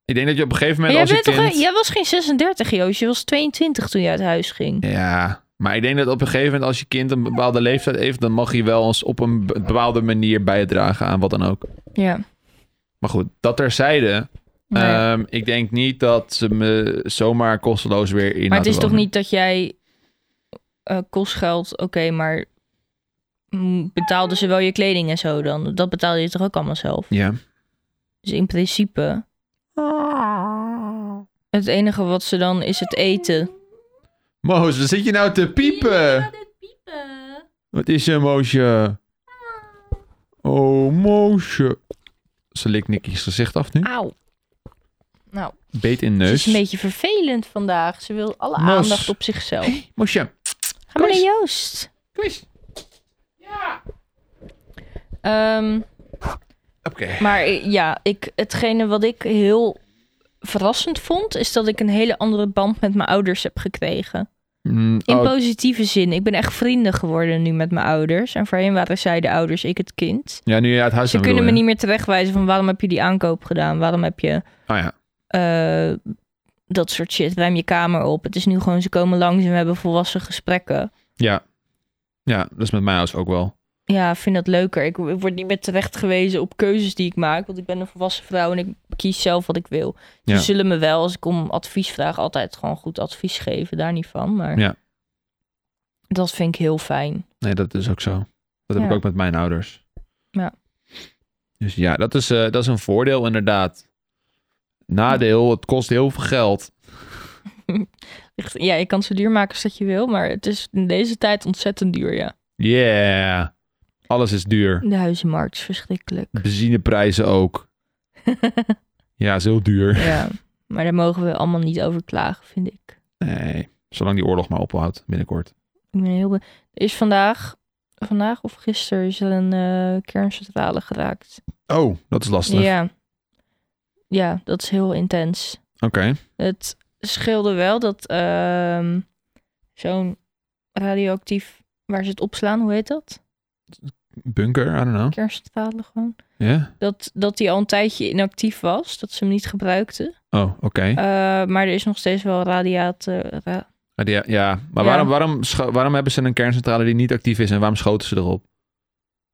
A: Ik denk dat je op een gegeven
B: Maar
A: moment
B: jij,
A: als je
B: bent toch,
A: kind...
B: een- jij was geen 36, Joost. Je was 22 toen je uit huis ging.
A: Ja, maar ik denk dat op een gegeven moment als je kind een bepaalde leeftijd heeft... dan mag je wel eens op een be- bepaalde manier bijdragen aan wat dan ook.
B: Ja.
A: Maar goed, dat terzijde...
B: Nee.
A: Ehm, ik denk niet dat ze me zomaar kosteloos weer in
B: maar het
A: laten
B: is toch
A: wonen.
B: niet dat jij eh, kostgeld, oké, maar mm, betaalden ze wel je kleding en zo dan? Dat betaalde je toch ook allemaal zelf?
A: Ja.
B: Dus in principe. Het enige wat ze dan is het eten.
A: Moos, wat zit je nou te piepen? Wat is een moosje? Oh, moosje. Ze likt Nicky's gezicht af nu.
B: Auw. Nou,
A: Beet in
B: ze is een
A: neus.
B: beetje vervelend vandaag. Ze wil alle
A: Mos.
B: aandacht op zichzelf.
A: Moosje.
B: Ga maar naar
A: Koos.
B: Joost.
A: Kom eens.
B: Ehm,
A: Oké.
B: maar eh, ja, ik, hetgene wat ik heel verrassend vond, is dat ik een hele andere band met mijn ouders heb gekregen.
A: Mm,
B: In
A: oh,
B: positieve zin. Ik ben echt vrienden geworden nu met mijn ouders. En voorheen waren zij de ouders, ik het kind.
A: ja, nu je uit huis
B: Ze
A: bent,
B: kunnen me
A: bedoel
B: niet meer terechtwijzen van waarom heb je die aankoop gedaan? Waarom heb je
A: je? Oh ja.
B: eh, dat soort shit? Ruim je kamer op. Het is nu gewoon, ze komen langs en we hebben volwassen gesprekken.
A: Ja. Ja, dat is met mij huis ook wel.
B: Ja, ik vind dat leuker. Ik, ik word niet meer terechtgewezen op keuzes die ik maak. Want ik ben een volwassen vrouw en ik kies zelf wat ik wil. Ze
A: Ja.
B: zullen me wel, als ik om advies vraag, altijd gewoon goed advies geven. Daar niet van. Maar
A: Ja.
B: dat vind ik heel fijn.
A: Nee, dat is ook zo. Dat heb
B: Ja.
A: ik ook met mijn ouders.
B: Ja.
A: Dus ja, dat is, eh, dat is een voordeel inderdaad. Nadeel, het kost heel veel geld.
B: Echt, Ja, je kan het zo duur maken als dat je wil, maar het is in deze tijd ontzettend duur, ja.
A: Yeah. Alles is duur.
B: De huizenmarkt is verschrikkelijk.
A: Benzineprijzen ook. ja, is heel duur.
B: ja, maar daar mogen we allemaal niet over klagen, vind ik.
A: Nee, zolang die oorlog maar ophoudt binnenkort.
B: Ik ben heel be- Er is vandaag, vandaag of gisteren, is er een eh, kerncentrale geraakt.
A: Oh, dat is lastig.
B: Ja. ja, dat is heel intens.
A: Oké.
B: Het scheelde wel dat ehm, zo'n radioactief, waar ze het opslaan, hoe heet dat?
A: Bunker, I don't know.
B: Kerncentrale gewoon.
A: Ja?
B: Dat, dat die al een tijdje inactief was, dat ze hem niet gebruikten.
A: Oh, oké.
B: Eh, maar er is nog steeds wel radiaat. eh, ra-
A: Ah, die- ja, maar
B: Ja.
A: Waarom, waarom, scho- waarom hebben ze een kerncentrale die niet actief is en waarom schoten ze erop?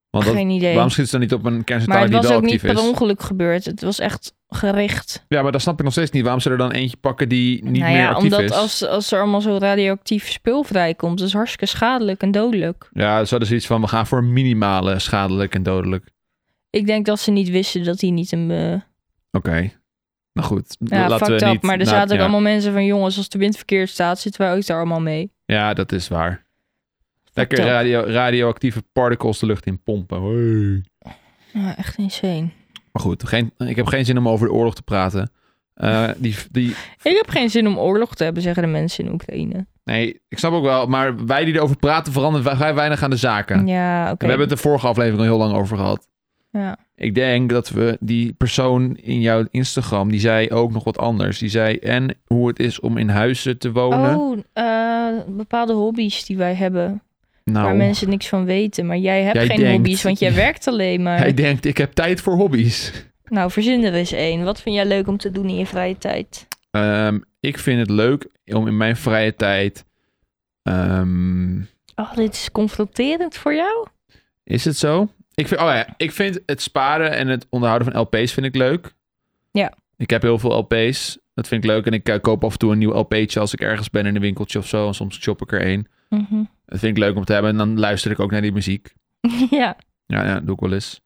A: Want dat,
B: Geen idee.
A: waarom schieten ze dan niet op een
B: maar
A: kerncentrale
B: het
A: die
B: was
A: wel
B: ook niet
A: actief
B: per
A: is?
B: ongeluk gebeurd. Het was echt gericht.
A: Ja, maar dan snap ik nog steeds niet waarom ze er dan eentje pakken die niet
B: nou
A: meer
B: ja,
A: actief
B: omdat
A: is.
B: Als, als er allemaal zo radioactief spul vrijkomt, dat is hartstikke schadelijk en dodelijk.
A: Ja, ze hadden zoiets van, we gaan voor minimale schadelijk en dodelijk.
B: Ik denk dat ze niet wisten dat hij niet een. eh,
A: Oké. Nou goed,
B: ja,
A: laten
B: fucked
A: we
B: up.
A: niet...
B: Maar er
A: nou,
B: zaten ook
A: ja.
B: allemaal mensen van: jongens, als de wind verkeerd staat, zitten wij ook daar allemaal mee.
A: Ja, dat is waar. Lekker
B: up.
A: radio, radioactieve particles de lucht in pompen. Hey.
B: Ja, echt insane.
A: Maar goed, geen, ik heb geen zin om over de oorlog te praten. Eh, die, die,
B: Ik heb geen zin om oorlog te hebben, zeggen de mensen in Oekraïne.
A: nee, ik snap ook wel, maar wij die erover praten veranderen vrij weinig aan de zaken.
B: Ja,
A: En
B: oké.
A: We hebben het de vorige aflevering al heel lang over gehad.
B: Ja.
A: Ik denk dat we die persoon in jouw Instagram, die zei ook nog wat anders. Die zei en hoe het is om in huizen te wonen.
B: Oh, eh, bepaalde hobby's die wij hebben.
A: nou,
B: Waar mensen niks van weten. Maar jij hebt
A: Jij
B: geen
A: denkt-
B: hobby's, want jij werkt alleen maar.
A: hij denkt ik heb tijd voor hobby's.
B: Nou, verzin er eens één. Wat vind jij leuk om te doen in je vrije tijd?
A: Ehm, ik vind het leuk om in mijn vrije tijd. ehm,
B: Oh, dit is confronterend voor jou?
A: is het zo? Ik vind, oh ja, ik vind het sparen en het onderhouden van LP's vind ik leuk.
B: Ja.
A: Ik heb heel veel LP's. Dat vind ik leuk. En ik eh, koop af en toe een nieuw LP'tje als ik ergens ben in een winkeltje of zo. En soms shop ik er één.
B: Mhm.
A: Dat vind ik leuk om te hebben. En dan luister ik ook naar die muziek.
B: ja.
A: Ja, ja doe ik wel eens.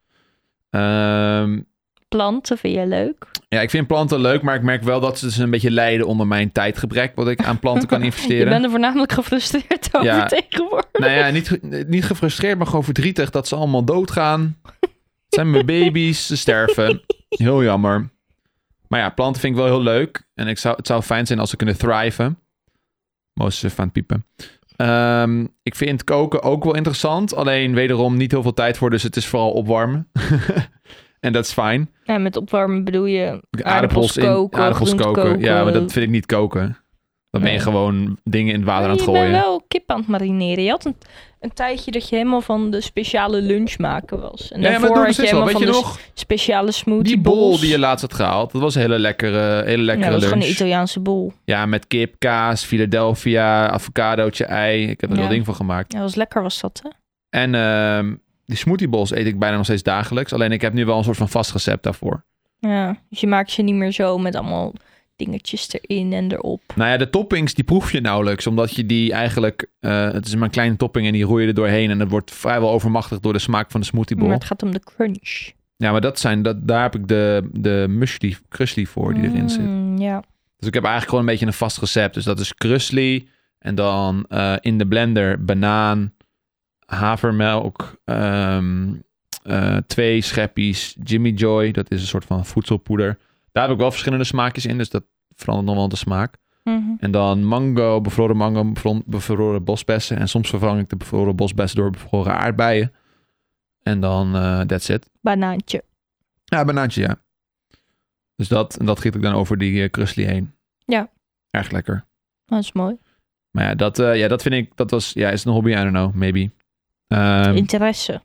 A: Ehm,
B: Planten vind jij leuk?
A: ja, ik vind planten leuk, maar ik merk wel dat ze dus een beetje lijden onder mijn tijdgebrek. Wat ik aan planten kan
B: Je
A: investeren.
B: bent er voornamelijk gefrustreerd over
A: Ja.
B: tegenwoordig.
A: Nou ja, niet, ge- niet gefrustreerd, maar gewoon verdrietig dat ze allemaal doodgaan. Het zijn mijn baby's, ze sterven. Heel jammer. Maar ja, planten vind ik wel heel leuk. En ik zou, het zou fijn zijn als ze kunnen thriven. Mozes is van het piepen. Ehm, ik vind koken ook wel interessant. Alleen wederom niet heel veel tijd voor, dus het is vooral opwarmen. en dat is fijn.
B: Ja, met opwarmen bedoel je
A: Aardappels,
B: aardappels
A: in,
B: koken,
A: aardappels
B: groente
A: koken.
B: koken.
A: Ja, maar dat vind ik niet koken. Dan ben je
B: Nee.
A: gewoon dingen in het water aan het
B: je
A: gooien.
B: bent wel kip aan het marineren. Je had een, een tijdje dat je helemaal van de speciale lunch maken was. En
A: ja, maar dat doe
B: daarvoor
A: ik nog
B: had je
A: steeds wel.
B: helemaal
A: Weet
B: van
A: je nog?
B: de s- speciale smoothie
A: Die bol die je laatst had gehaald, dat was een hele lekkere, hele
B: ja,
A: lekkere
B: dat was gewoon
A: lunch.
B: een Italiaanse bol.
A: ja, met kip, kaas, Philadelphia, avocadootje, ei. Ik heb er
B: Ja.
A: een heel ding van gemaakt.
B: Ja, dat was lekker was dat, hè?
A: En ehm, die smoothie bowls eet ik bijna nog steeds dagelijks. Alleen ik heb nu wel een soort van vast recept daarvoor.
B: Ja, dus je maakt ze niet meer zo met allemaal dingetjes erin en erop.
A: Nou ja, de toppings die proef je nauwelijks. Omdat je die eigenlijk... eh, het is maar een kleine topping en die roei je er doorheen. En dat wordt vrijwel overmachtigd door de smaak van de smoothie bowl.
B: Maar het gaat om de crunch.
A: Ja, maar dat zijn, dat, daar heb ik de, de muesli, krusli voor die erin zit.
B: Mm, ja.
A: Dus ik heb eigenlijk gewoon een beetje een vast recept. Dus dat is krusli en dan eh, in de blender banaan, havermelk, ehm, eh, twee scheppies, Jimmy Joy, dat is een soort van voedselpoeder. Daar heb ik wel verschillende smaakjes in, dus dat verandert nog wel de smaak.
B: Mhm.
A: En dan mango, bevroren mango, bevro- bevroren bosbessen. En soms vervang ik de bevroren bosbessen door bevroren aardbeien. En dan, eh that's it.
B: Banaantje.
A: Ja, banaantje, ja. Dus dat, en dat giet ik dan over die eh krusli heen.
B: Ja.
A: Erg lekker.
B: Dat is mooi.
A: Maar ja, dat, eh, ja, dat vind ik, dat was, ja, is het een hobby? I don't know, maybe. Ehm,
B: Interesse.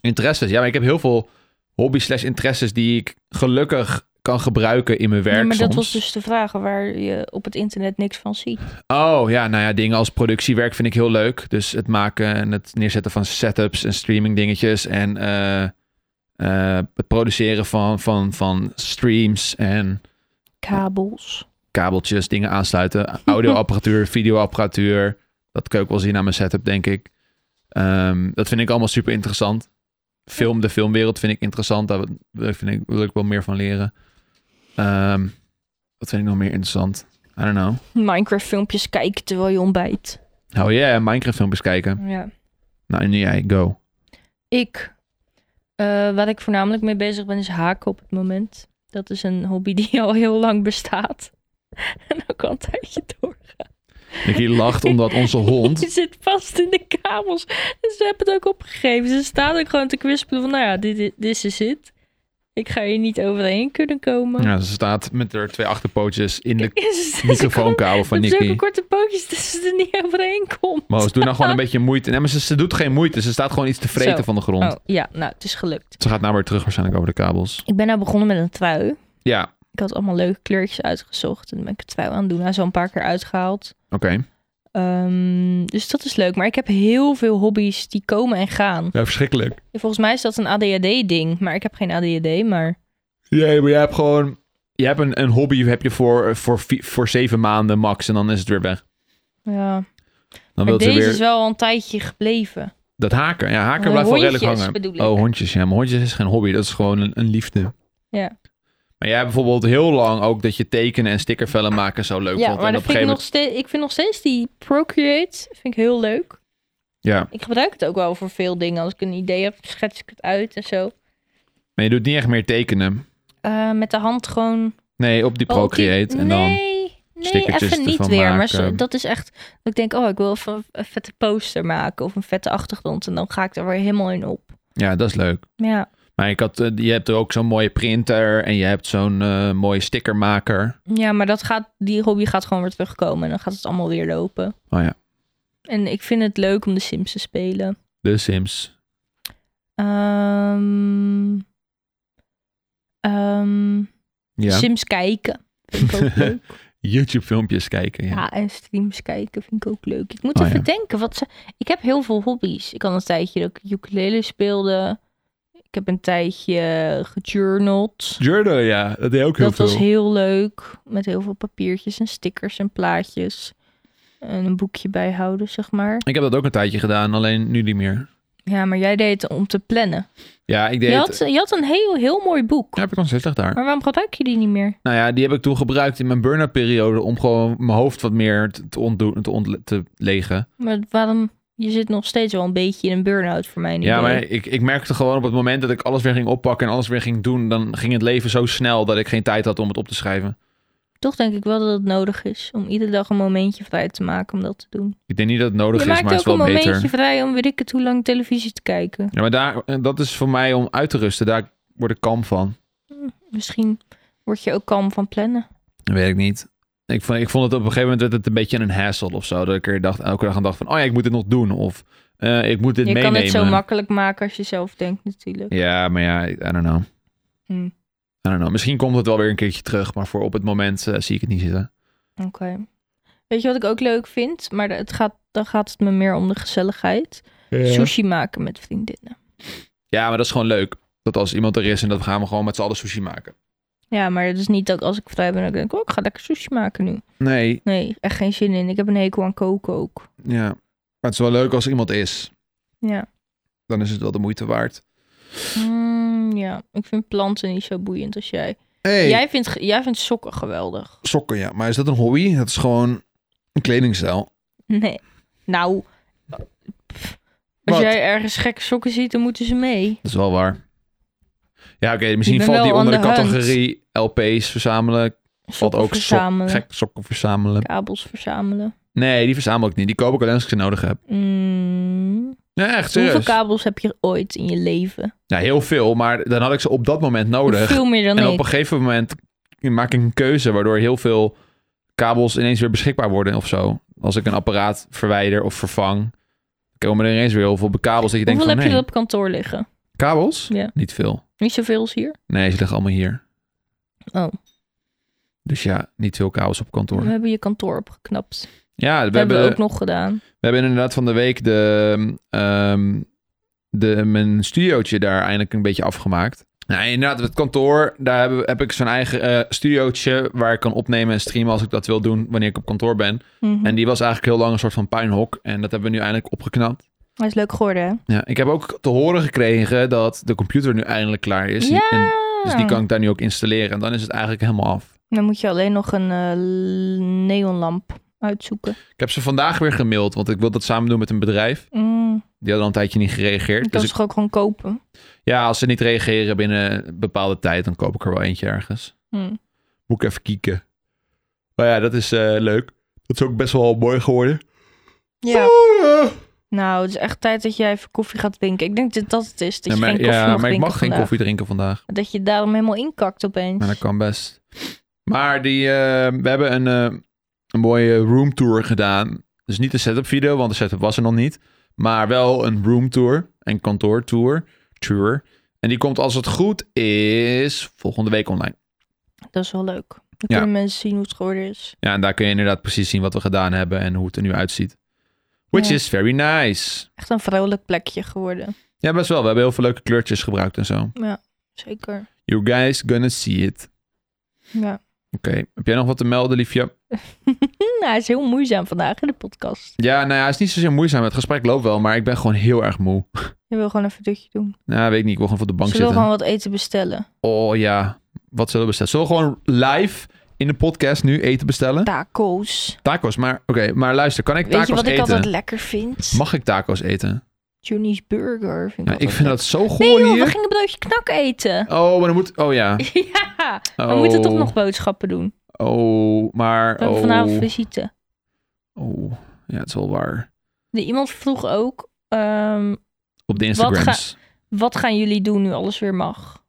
A: interesses. Ja, maar ik heb heel veel hobby's slash interesses die ik gelukkig kan gebruiken in mijn werk
B: Ja, maar dat
A: soms.
B: was dus de vraag waar je op het internet niks van ziet.
A: Oh ja, nou ja, dingen als productiewerk vind ik heel leuk. Dus het maken en het neerzetten van setups en streaming dingetjes. En eh, eh, het produceren van, van, van streams en
B: Kabels.
A: kabeltjes, dingen aansluiten. Audioapparatuur, videoapparatuur. Dat kan ik ook wel zien aan mijn setup, denk ik. Ehm, dat vind ik allemaal super interessant. Film, de filmwereld vind ik interessant. Daar wil- vind ik, wil ik wel meer van leren. Ehm, wat vind ik nog meer interessant? I don't know.
B: Minecraft filmpjes kijken terwijl je ontbijt.
A: Oh yeah, Minecraft filmpjes kijken.
B: Ja.
A: Nou, en nu jij, go.
B: Ik. eh waar ik voornamelijk mee bezig ben is haken op het moment. Dat is een hobby die al heel lang bestaat. En ook al een tijdje door.
A: Nicky lacht omdat onze
B: Je
A: hond...
B: zit vast in de kabels. En ze hebben het ook opgegeven. Ze staan ook gewoon te kwispelen van, nou ja, dit, dit this is it. Ik ga hier niet overheen kunnen komen.
A: Ja, ze staat met haar twee achterpootjes in de
B: Is het- Ze
A: microfoonkabel van
B: hebben
A: Nicky.
B: zulke korte pootjes dus dat ze er niet overheen komt.
A: Moos, doe nou gewoon een beetje moeite. Nee, maar ze, ze doet geen moeite. Ze staat gewoon iets te vreten
B: Zo.
A: van de grond.
B: Oh, ja, nou, het is gelukt.
A: Ze gaat nou weer terug waarschijnlijk over de kabels.
B: Ik ben nou begonnen met een trui.
A: Ja,
B: Ik had allemaal leuke kleurtjes uitgezocht. En dan ben ik het trui aan het doen. Hij is al een paar keer uitgehaald.
A: oké.
B: Ehm, dus dat is leuk. Maar ik heb heel veel hobby's die komen en gaan.
A: Ja, verschrikkelijk.
B: Volgens mij is dat een ADHD-ding. Maar ik heb geen ADHD, maar...
A: Nee, maar jij hebt gewoon... Je hebt een, een hobby heb je voor, voor, vi- voor zeven maanden max en dan is het weer weg.
B: Ja.
A: Dan
B: Maar
A: wil ze
B: deze
A: weer
B: is wel al een tijdje gebleven.
A: dat haken. Ja, haken
B: De
A: blijft wel redelijk
B: hondjes,
A: hangen.
B: bedoel ik.
A: Oh, hondjes. Ja, maar hondjes is geen hobby. Dat is gewoon een, een liefde.
B: Ja.
A: Maar jij hebt bijvoorbeeld heel lang ook dat je tekenen en stickervellen maken zo leuk
B: Ja,
A: vond.
B: maar
A: en
B: dat
A: op een
B: vind
A: gegeven
B: ik, nog
A: moment...
B: steeds, ik vind nog steeds die Procreate vind ik heel leuk.
A: Ja,
B: Ik gebruik het ook wel voor veel dingen. Als ik een idee heb, schets ik het uit en zo.
A: maar je doet niet echt meer tekenen.
B: Eh, met de hand gewoon
A: Nee, op die
B: Oh, die-
A: Procreate en dan...
B: nee, nee,
A: stickertjes
B: even niet
A: ervan
B: weer. Maar
A: maken.
B: zo- dat is echt. dat Ik denk, oh, ik wil even een vette poster maken of een vette achtergrond. En dan ga ik er weer helemaal in op.
A: Ja, dat is leuk.
B: Ja,
A: Maar ik had, eh, je hebt er ook zo'n mooie printer en je hebt zo'n eh, mooie stickermaker.
B: ja maar dat gaat, die hobby gaat gewoon weer terugkomen. En dan gaat het allemaal weer lopen.
A: Oh ja,
B: En ik vind het leuk om de Sims te spelen.
A: de Sims.
B: Ehm, ehm,
A: Ja.
B: Sims kijken. Vind ik ook leuk.
A: YouTube filmpjes kijken. Ja.
B: Ja, en streams kijken vind ik ook leuk. Ik moet
A: Oh,
B: even
A: ja.
B: denken. Wat ze... Ik heb heel veel hobby's. Ik had een tijdje dat ik ukulele speelde. Ik heb een tijdje gejournald.
A: Journal, ja, dat deed ook heel
B: Dat
A: veel.
B: was heel leuk. Met heel veel papiertjes en stickers en plaatjes. En een boekje bijhouden, zeg maar.
A: Ik heb dat ook een tijdje gedaan, alleen nu niet meer.
B: Ja, maar jij deed het om te plannen.
A: Ja, ik deed.
B: Je had, je had een heel, heel mooi boek.
A: Ja, heb ik nog steeds nog daar.
B: Maar waarom gebruik je die niet meer?
A: Nou ja, die heb ik toen gebruikt in mijn burn-out periode om gewoon mijn hoofd wat meer te, te, ontdoen, te, ontle- te legen.
B: Maar waarom... Je zit nog steeds wel een beetje in een burn-out voor mij.
A: Ja, maar ik, ik merkte gewoon op het moment dat ik alles weer ging oppakken en alles weer ging doen, dan ging het leven zo snel dat ik geen tijd had om het op te schrijven.
B: Toch denk ik wel dat het nodig is om iedere dag een momentje vrij te maken om dat te doen.
A: Ik denk niet dat het nodig
B: je
A: is,
B: maakt
A: maar het is
B: ook een
A: wel
B: momentje
A: beter.
B: vrij om weet ik het hoe lang televisie te kijken.
A: Ja, maar daar, eh, dat is voor mij om uit te rusten. Daar word ik kalm van.
B: Misschien word je ook kalm van plannen.
A: Dat weet ik niet. Ik vond, ik vond het op een gegeven moment werd het een beetje een hassle of zo. Dat ik er dacht, elke dag aan dacht van, oh ja, ik moet dit nog doen. Of eh, ik moet dit
B: je
A: meenemen.
B: kan het zo makkelijk maken als je zelf denkt natuurlijk.
A: Ja, maar ja, I don't know.
B: Hm,
A: I don't know. Misschien komt het wel weer een keertje terug. Maar voor op het moment eh, zie ik het niet zitten.
B: Oké. Weet je wat ik ook leuk vind? Maar het gaat, dan gaat het me meer om de gezelligheid. Sushi maken met vriendinnen.
A: Ja, maar dat is gewoon leuk. Dat als iemand er is en dat gaan we gewoon met z'n allen sushi maken.
B: Ja, maar het is niet dat als ik vrij ben, dat ik denk, oh, ik ga lekker sushi maken nu.
A: Nee,
B: Nee, echt geen zin in. Ik heb een hekel aan koken ook.
A: ja. Maar het is wel leuk als er iemand is.
B: Ja.
A: Dan is het wel de moeite waard.
B: Mm, ja, ik vind planten niet zo boeiend als jij.
A: Hey.
B: Jij, vindt, ge- jij vindt sokken geweldig.
A: Sokken, ja. Maar is dat een hobby? Dat is gewoon een kledingstijl.
B: Nee. Nou, pff, Als
A: Wat?
B: jij ergens gekke sokken ziet, dan moeten ze mee.
A: Dat is wel waar. Ja, oké, misschien
B: ben
A: valt die
B: wel
A: onder de
B: on the hunt. Oh,
A: categorie LP's verzamelen. Valt
B: Sokken
A: ook sok,
B: verzamelen,
A: gek sokken verzamelen.
B: kabels verzamelen.
A: Nee, die verzamel ik niet. Die koop ik alleen als ik ze nodig heb.
B: Mm.
A: Nee, echt
B: Hoeveel
A: serieus.
B: kabels heb je ooit in je leven?
A: Ja, heel veel, maar dan had ik ze op dat moment nodig.
B: Veel meer dan
A: Oh, En
B: ik.
A: op een gegeven moment maak ik een keuze waardoor heel veel kabels ineens weer beschikbaar worden of zo. Als ik een apparaat verwijder of vervang, komen er ineens weer heel veel kabels dat je denkt
B: Hoeveel
A: van
B: heb je
A: nee.
B: er op kantoor liggen?
A: Kabels?
B: Ja.
A: Niet veel.
B: Niet zoveel als hier.
A: Nee, ze liggen allemaal hier.
B: Oh.
A: Dus ja, niet veel kabels op kantoor.
B: We hebben je kantoor opgeknapt.
A: Ja,
B: Dat
A: we
B: hebben
A: hebben,
B: we ook nog gedaan.
A: we hebben inderdaad van de week de, ehm, de, mijn studiootje daar eindelijk een beetje afgemaakt. Nou, inderdaad, het kantoor, daar hebben, we- heb ik zo'n eigen eh, studiootje waar ik kan opnemen en streamen als ik dat wil doen wanneer ik op kantoor ben.
B: Mhm.
A: En die was eigenlijk heel lang een soort van puinhok. En dat hebben we nu eindelijk opgeknapt.
B: Hij is leuk geworden, hè?
A: Ja, ik heb ook te horen gekregen dat de computer nu eindelijk klaar is.
B: ja!
A: En, dus die kan ik daar nu ook installeren. En dan is het eigenlijk helemaal af.
B: Dan moet je alleen nog een eh, neonlamp uitzoeken.
A: Ik heb ze vandaag weer gemaild, want ik wil dat samen doen met een bedrijf.
B: Mm.
A: Die hadden al een tijdje niet
B: Je
A: gereageerd.
B: kan
A: Dus
B: ze
A: ik-
B: toch ook gewoon kopen?
A: ja, als ze niet reageren binnen een bepaalde tijd, dan koop ik er wel eentje ergens.
B: Mm.
A: Moet ik even kieken. Maar ja, dat is eh, leuk. Dat is ook best wel mooi geworden.
B: Ja.
A: Oh, ja.
B: Nou, het is echt tijd dat jij even koffie gaat drinken. Ik denk dat dat het is. Dat
A: Ja,
B: je
A: maar,
B: geen koffie
A: ja,
B: mag
A: maar ik
B: drinken
A: mag geen
B: vandaag.
A: koffie drinken vandaag.
B: Dat je daarom helemaal inkakt opeens.
A: Maar dat kan best. Maar die, eh, we hebben een, eh, een mooie roomtour gedaan. Dus niet een setup video, want de setup was er nog niet. Maar wel een roomtour en kantoortour. Tour. En die komt als het goed is volgende week online.
B: Dat is wel leuk.
A: Ja.
B: Dan kunnen mensen zien hoe het geworden is.
A: Ja, en daar kun je inderdaad precies zien wat we gedaan hebben en hoe het er nu uitziet. Which
B: Ja.
A: is very nice.
B: Echt een vrolijk plekje geworden.
A: Ja, best wel. We hebben heel veel leuke kleurtjes gebruikt en zo.
B: Zeker.
A: You guys gonna see it.
B: Ja.
A: Oké, heb jij nog wat te melden, liefje?
B: Nou, hij is heel moeizaam vandaag in de podcast.
A: Ja, nou ja, het is niet zozeer moeizaam. Het gesprek loopt wel, maar ik ben gewoon heel erg moe.
B: Je wil gewoon even dutje doen.
A: Nou, weet ik niet. Ik wil gewoon voor de bank
B: Ze wil
A: zitten.
B: gewoon wat eten bestellen.
A: Oh ja, wat zullen we bestellen? Zullen we gewoon live in de podcast nu eten bestellen?
B: Tacos.
A: Tacos, maar oké, maar luister, kan ik
B: Weet je
A: tacos
B: wat ik
A: eten?
B: altijd lekker vind?
A: Mag ik tacos eten?
B: Johnny's Burger. Vind
A: Ja,
B: ik,
A: ik vind dat zo goed
B: Nee joh, we
A: hier.
B: gingen broodje knak eten.
A: Oh, maar dan moet... Oh ja.
B: ja,
A: Oh,
B: we moeten toch nog boodschappen doen.
A: Oh, maar...
B: We hebben
A: Oh,
B: vanavond visite.
A: oh, ja, het is wel waar.
B: Nee, Iemand vroeg ook, ehm,
A: Op de
B: Wat
A: Instagrams.
B: wat gaan jullie doen nu alles weer mag?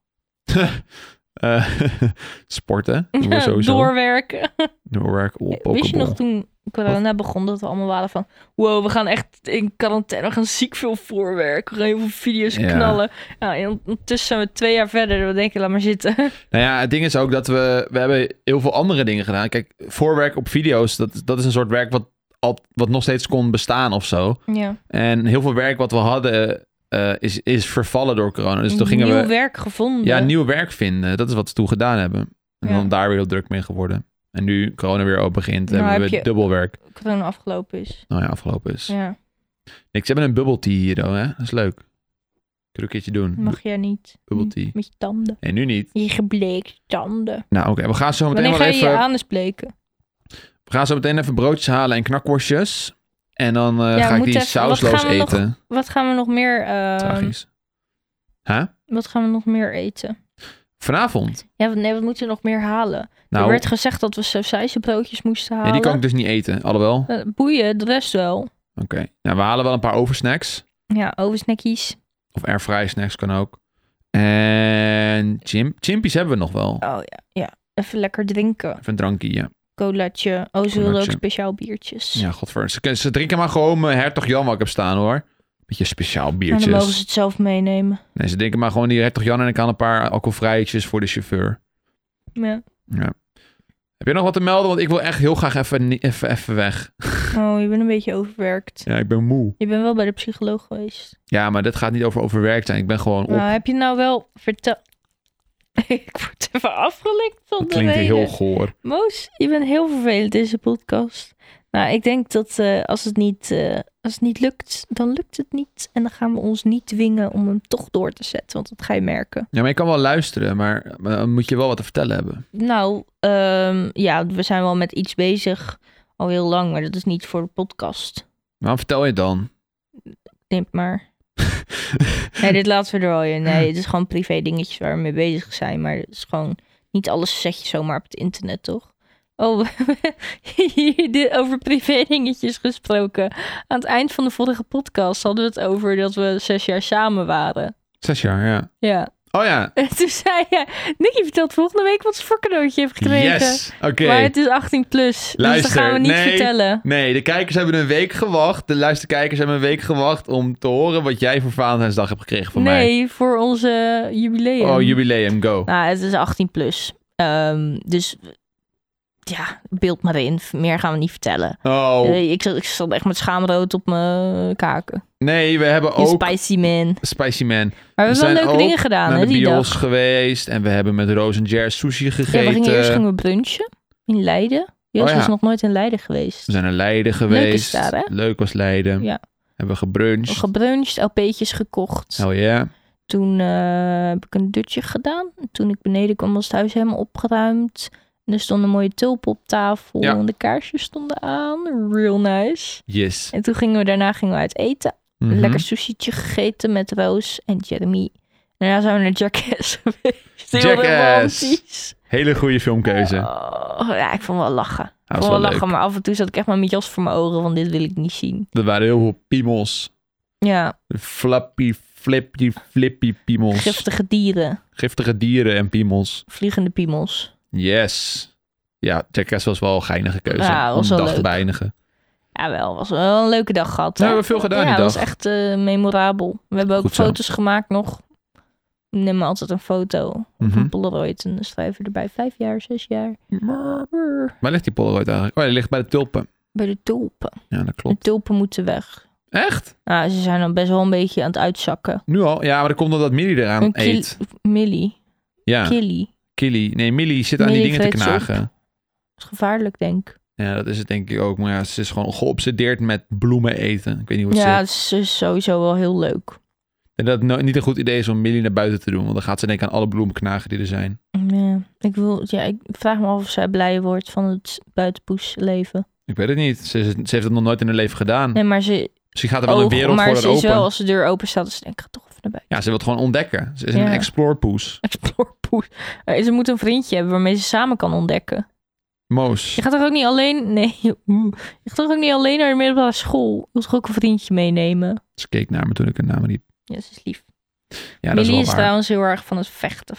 A: Eh, sporten. Doen we sowieso.
B: Doorwerken.
A: Doorwerk. Oh,
B: Wist je
A: pokeball.
B: nog toen corona begon dat we allemaal waren van... Wow, we gaan echt in quarantaine. We gaan ziek veel voorwerken. We gaan heel veel video's
A: Ja.
B: knallen. Nou, en ondertussen zijn we twee jaar verder. en We denken, laat maar zitten.
A: Nou ja, het ding is ook dat we... We hebben heel veel andere dingen gedaan. Kijk, voorwerk op video's, dat, dat is een soort werk wat, al, wat nog steeds kon bestaan of zo.
B: Ja.
A: En heel veel werk wat we hadden eh, is, is vervallen door corona. Dus toen gingen
B: Nieuw
A: we
B: werk gevonden.
A: ja, nieuw werk vinden. Dat is wat we toen gedaan hebben. En
B: Ja.
A: dan daar weer heel druk mee geworden. En nu corona weer open begint,
B: Nou,
A: hebben
B: heb
A: we
B: je-
A: dubbel werk.
B: Corona afgelopen is.
A: Nou ja, afgelopen is.
B: Ja,
A: Niks, ze hebben een bubble tea hier, hoor, hè? Dat is leuk. Kunnen we een keertje doen.
B: mag jij niet.
A: Bubble tea.
B: Met je tanden.
A: En nu niet.
B: Je gebleekte tanden.
A: Nou, oké. We gaan zo meteen
B: Wanneer
A: wel
B: ga je
A: even...
B: je anus bleken?
A: We gaan zo meteen even broodjes halen en knakworstjes. En dan eh,
B: we
A: ga ik
B: moeten
A: die
B: even- wat
A: sausloos
B: gaan we nog- Ehm,
A: eten.
B: Wat gaan we nog meer... ehm,
A: Tragisch. Huh?
B: wat gaan we nog meer eten?
A: Vanavond?
B: Ja, want- nee, wat moeten we nog meer halen?
A: Nou,
B: Er werd gezegd dat we sausijzenbroodjes moesten
A: nee,
B: halen.
A: die kan ik dus niet eten. Alhoewel. Oké.
B: Eh, Boeien, de rest wel.
A: Nou, we halen wel een paar oversnacks.
B: Ja, oversnackies.
A: Of airfry snacks kan ook. En chim chimpies hebben we nog wel.
B: Oh ja, ja. Even lekker drinken.
A: Even een drankje, ja.
B: Colaatje. Oh, ze wilden ook
A: Colaatje.
B: speciaal biertjes.
A: Ja, godver. Ze, kunnen- ze drinken maar gewoon mijn hertog Jan wat ik heb staan, hoor. Beetje speciaal
B: en Nou, dan mogen ze
A: biertjes.
B: het zelf meenemen.
A: Nee, ze drinken maar gewoon die hertog Jan en ik aan een paar alcoholvrijtjes voor de chauffeur.
B: Ja.
A: Heb je nog wat te melden? Want ik wil echt heel graag even, ni- even, even weg.
B: Oh, je bent een beetje overwerkt.
A: Ja, ik ben moe.
B: Je bent wel bij de psycholoog geweest.
A: Ja, maar dit gaat niet over overwerkt zijn. Ik ben gewoon op.
B: Nou, heb je nou wel vertel... ik word even afgelikt van
A: dat
B: de
A: klinkt
B: reden.
A: heel goor.
B: Moos, je bent heel vervelend deze podcast. Nou, ik denk dat eh, als, het niet, eh, als het niet lukt, dan lukt het niet. En dan gaan we ons niet dwingen om hem toch door te zetten. Want dat ga je merken.
A: Ja, maar je kan wel luisteren, maar maar dan moet je wel wat te vertellen hebben.
B: Nou, ehm, ja, we zijn wel met iets bezig al heel lang. Maar dat is niet voor de podcast.
A: Waarom vertel je het dan?
B: knip maar. nee, dit laten we er wel in. Nee, het is gewoon privé dingetjes waar we mee bezig zijn. Maar het is gewoon... Niet alles zet je zomaar op het internet, toch? Oh, we hebben dit over privé dingetjes gesproken. Aan het eind van de vorige podcast hadden we het over dat we zes jaar samen waren.
A: Zes jaar, ja.
B: Ja.
A: Oh ja.
B: En toen zei je... Nicky vertelt volgende week wat ze voor cadeautje heeft gekregen.
A: Yes. Oké.
B: Maar het is 18 plus. dus
A: Luister,
B: dat gaan we niet
A: nee.
B: vertellen.
A: Nee, de kijkers hebben een week gewacht. De luisterkijkers hebben een week gewacht om te horen wat jij voor Valentijnsdag hebt gekregen van
B: nee, voor onze jubileum.
A: mij. Oh, jubileum, go.
B: Nou, het is 18 plus. Ehm, dus ja, beeld maar in. Meer gaan we niet vertellen.
A: Oh,
B: Eh, ik, zat, ik zat echt met schaamrood op mijn kaken.
A: nee, we hebben
B: In
A: ook
B: Spicy Man.
A: Spicy Man
B: Maar we
A: We
B: hebben wel
A: zijn
B: leuke
A: ook
B: dingen gedaan,
A: naar
B: hè,
A: de
B: die
A: bios
B: dag.
A: geweest. En we hebben met Roos en Jer sushi
B: Ja,
A: gegeten.
B: we gingen eerst gingen we brunchen in Leiden. Jos
A: Oh ja.
B: was nog nooit in Leiden geweest.
A: We zijn naar Leiden geweest.
B: Leuk is daar, hè?
A: Leuk was Leiden.
B: Ja.
A: Hebben we
B: We
A: gebruncht.
B: gebruncht, LP'tjes gekocht.
A: Hell yeah.
B: Toen eh, heb ik een dutje gedaan. Toen ik beneden kwam was het huis helemaal opgeruimd. En er stond een mooie tulp op tafel.
A: Ja.
B: En de kaarsjes stonden aan. Real nice.
A: Yes.
B: En toen gingen we daarna gingen we uit eten.
A: Mhm.
B: Lekker sushietje gegeten met Roos en Jeremy. Daarna zijn we naar Jackass geweest. Heel
A: Jackass.
B: romantisch.
A: Hele goede filmkeuze.
B: Oh, ja, ik vond wel lachen. Ik
A: was
B: vond wel
A: Ah, wel
B: lachen,
A: leuk.
B: maar af en toe zat ik echt maar met jas voor mijn ogen. Want dit wil ik niet zien.
A: Er waren heel veel piemels.
B: Ja,
A: Flappy, flippy, flippy piemels.
B: giftige dieren.
A: Giftige dieren en piemels.
B: Vliegende piemels.
A: Yes. Ja, Jackass was wel een geinige keuze.
B: Ja, was
A: om
B: wel
A: dag te
B: leuk.
A: beëindigen.
B: Ja, wel. Was wel een leuke dag gehad.
A: We
B: hè?
A: hebben veel gedaan
B: ja,
A: die
B: dat was
A: dag.
B: echt eh, memorabel. We hebben ook
A: Goed zo.
B: foto's gemaakt nog. Ik neem me altijd een foto
A: Mhm.
B: van Polaroid en dan schrijven we erbij vijf jaar, zes jaar.
A: Waar ligt die Polaroid eigenlijk? Oh, die ligt bij de tulpen.
B: Bij de tulpen.
A: Ja, dat
B: De
A: klopt.
B: tulpen moeten weg.
A: Echt?
B: Nou, ze zijn dan best wel een beetje aan het uitzakken.
A: Nu al? Ja, maar dat komt omdat Millie eraan
B: Een kil-
A: eet.
B: Millie.
A: Ja,
B: Killie.
A: Killy. Nee, Millie zit aan
B: Millie
A: die dingen te
B: vreet ze op.
A: knagen.
B: Dat is gevaarlijk, denk ik.
A: Ja, dat is het denk ik ook. Maar ja, ze is gewoon geobsedeerd met bloemen eten. Ik weet niet hoe het
B: Ja,
A: zit.
B: het is, is sowieso wel heel leuk.
A: En dat het no- niet een goed idee is om Millie naar buiten te doen. Want dan gaat ze denken aan alle bloemen knagen die er zijn.
B: Ja, ik, wil, ja, ik vraag me af of zij blij wordt van het buitenpoesleven.
A: Ik weet het niet. Ze, is- ze heeft het nog nooit in haar leven gedaan.
B: Nee, maar ze,
A: Hm. Ze gaat er wel een
B: ogen,
A: wereld
B: maar
A: voor
B: ze
A: haar
B: is
A: open.
B: wel als de deur open staat, dus ik denk, ik ga toch even naar buiten.
A: Ja, ze wil het gewoon ontdekken. Ze is
B: Ja.
A: een explorepoes.
B: Explorepoes. Eh, Ze moet een vriendje hebben waarmee ze samen kan ontdekken.
A: Moos.
B: Je gaat toch ook niet alleen... Nee, oeh. je gaat toch ook niet alleen naar de middelbare school? Je moet toch ook een vriendje meenemen?
A: Ze keek naar me toen ik haar naam riep.
B: Ja, dat is lief.
A: Ja, dat is
B: Millie
A: wel
B: is
A: waar.
B: trouwens heel erg van het vechten.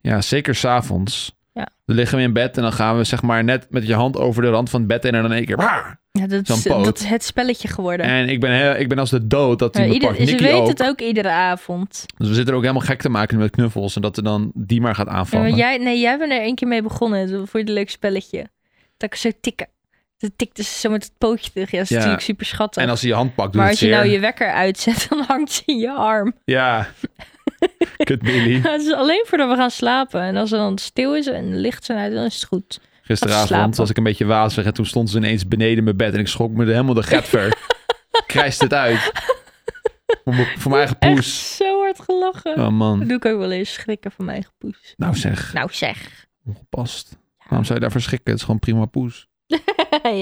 A: Ja, zeker s'avonds.
B: Ja.
A: Dan liggen we in bed en dan gaan we zeg maar net met je hand over de rand van het bed en dan in één keer... "Waar!"
B: Ja, dat, is,
A: Zo'n poot.
B: dat is het spelletje geworden.
A: En ik ben, heel, ik ben als de dood dat hij
B: Maar
A: me
B: ieder-
A: pakt.
B: ze
A: Nicky
B: weet
A: ook.
B: het ook iedere avond.
A: Dus we zitten er ook helemaal gek te maken met knuffels. En dat er dan die maar gaat
B: Ja,
A: aanvallen.
B: maar jij, nee, jij bent er één keer mee begonnen. Dat vond je een leuk spelletje. Dat ik zo tikken. Dat tikte ze zo met het pootje terug. Ja, dat is
A: Ja.
B: natuurlijk super schattig.
A: En als hij je hand pakt, doet
B: maar
A: het
B: als je
A: zeer.
B: nou je wekker uitzet, dan hangt ze in je arm.
A: Ja. Kut Billy.
B: Ja, Het is alleen voordat we gaan slapen. En als het dan stil is en licht zijn uit, dan is het goed.
A: Gisteravond
B: slapen.
A: was ik een beetje wazig en toen stond ze ineens beneden mijn bed. En ik schrok me er helemaal de get ver. Krijst het uit. Voor mijn- voor mijn eigen
B: Echt
A: poes.
B: zo hard gelachen.
A: Oh
B: Dat
A: man.
B: doe ik ook wel eens schrikken van mijn eigen poes.
A: Nou zeg,
B: Nou zeg.
A: ongepast. Waarom zou je daarvoor schrikken? Het is gewoon prima poes.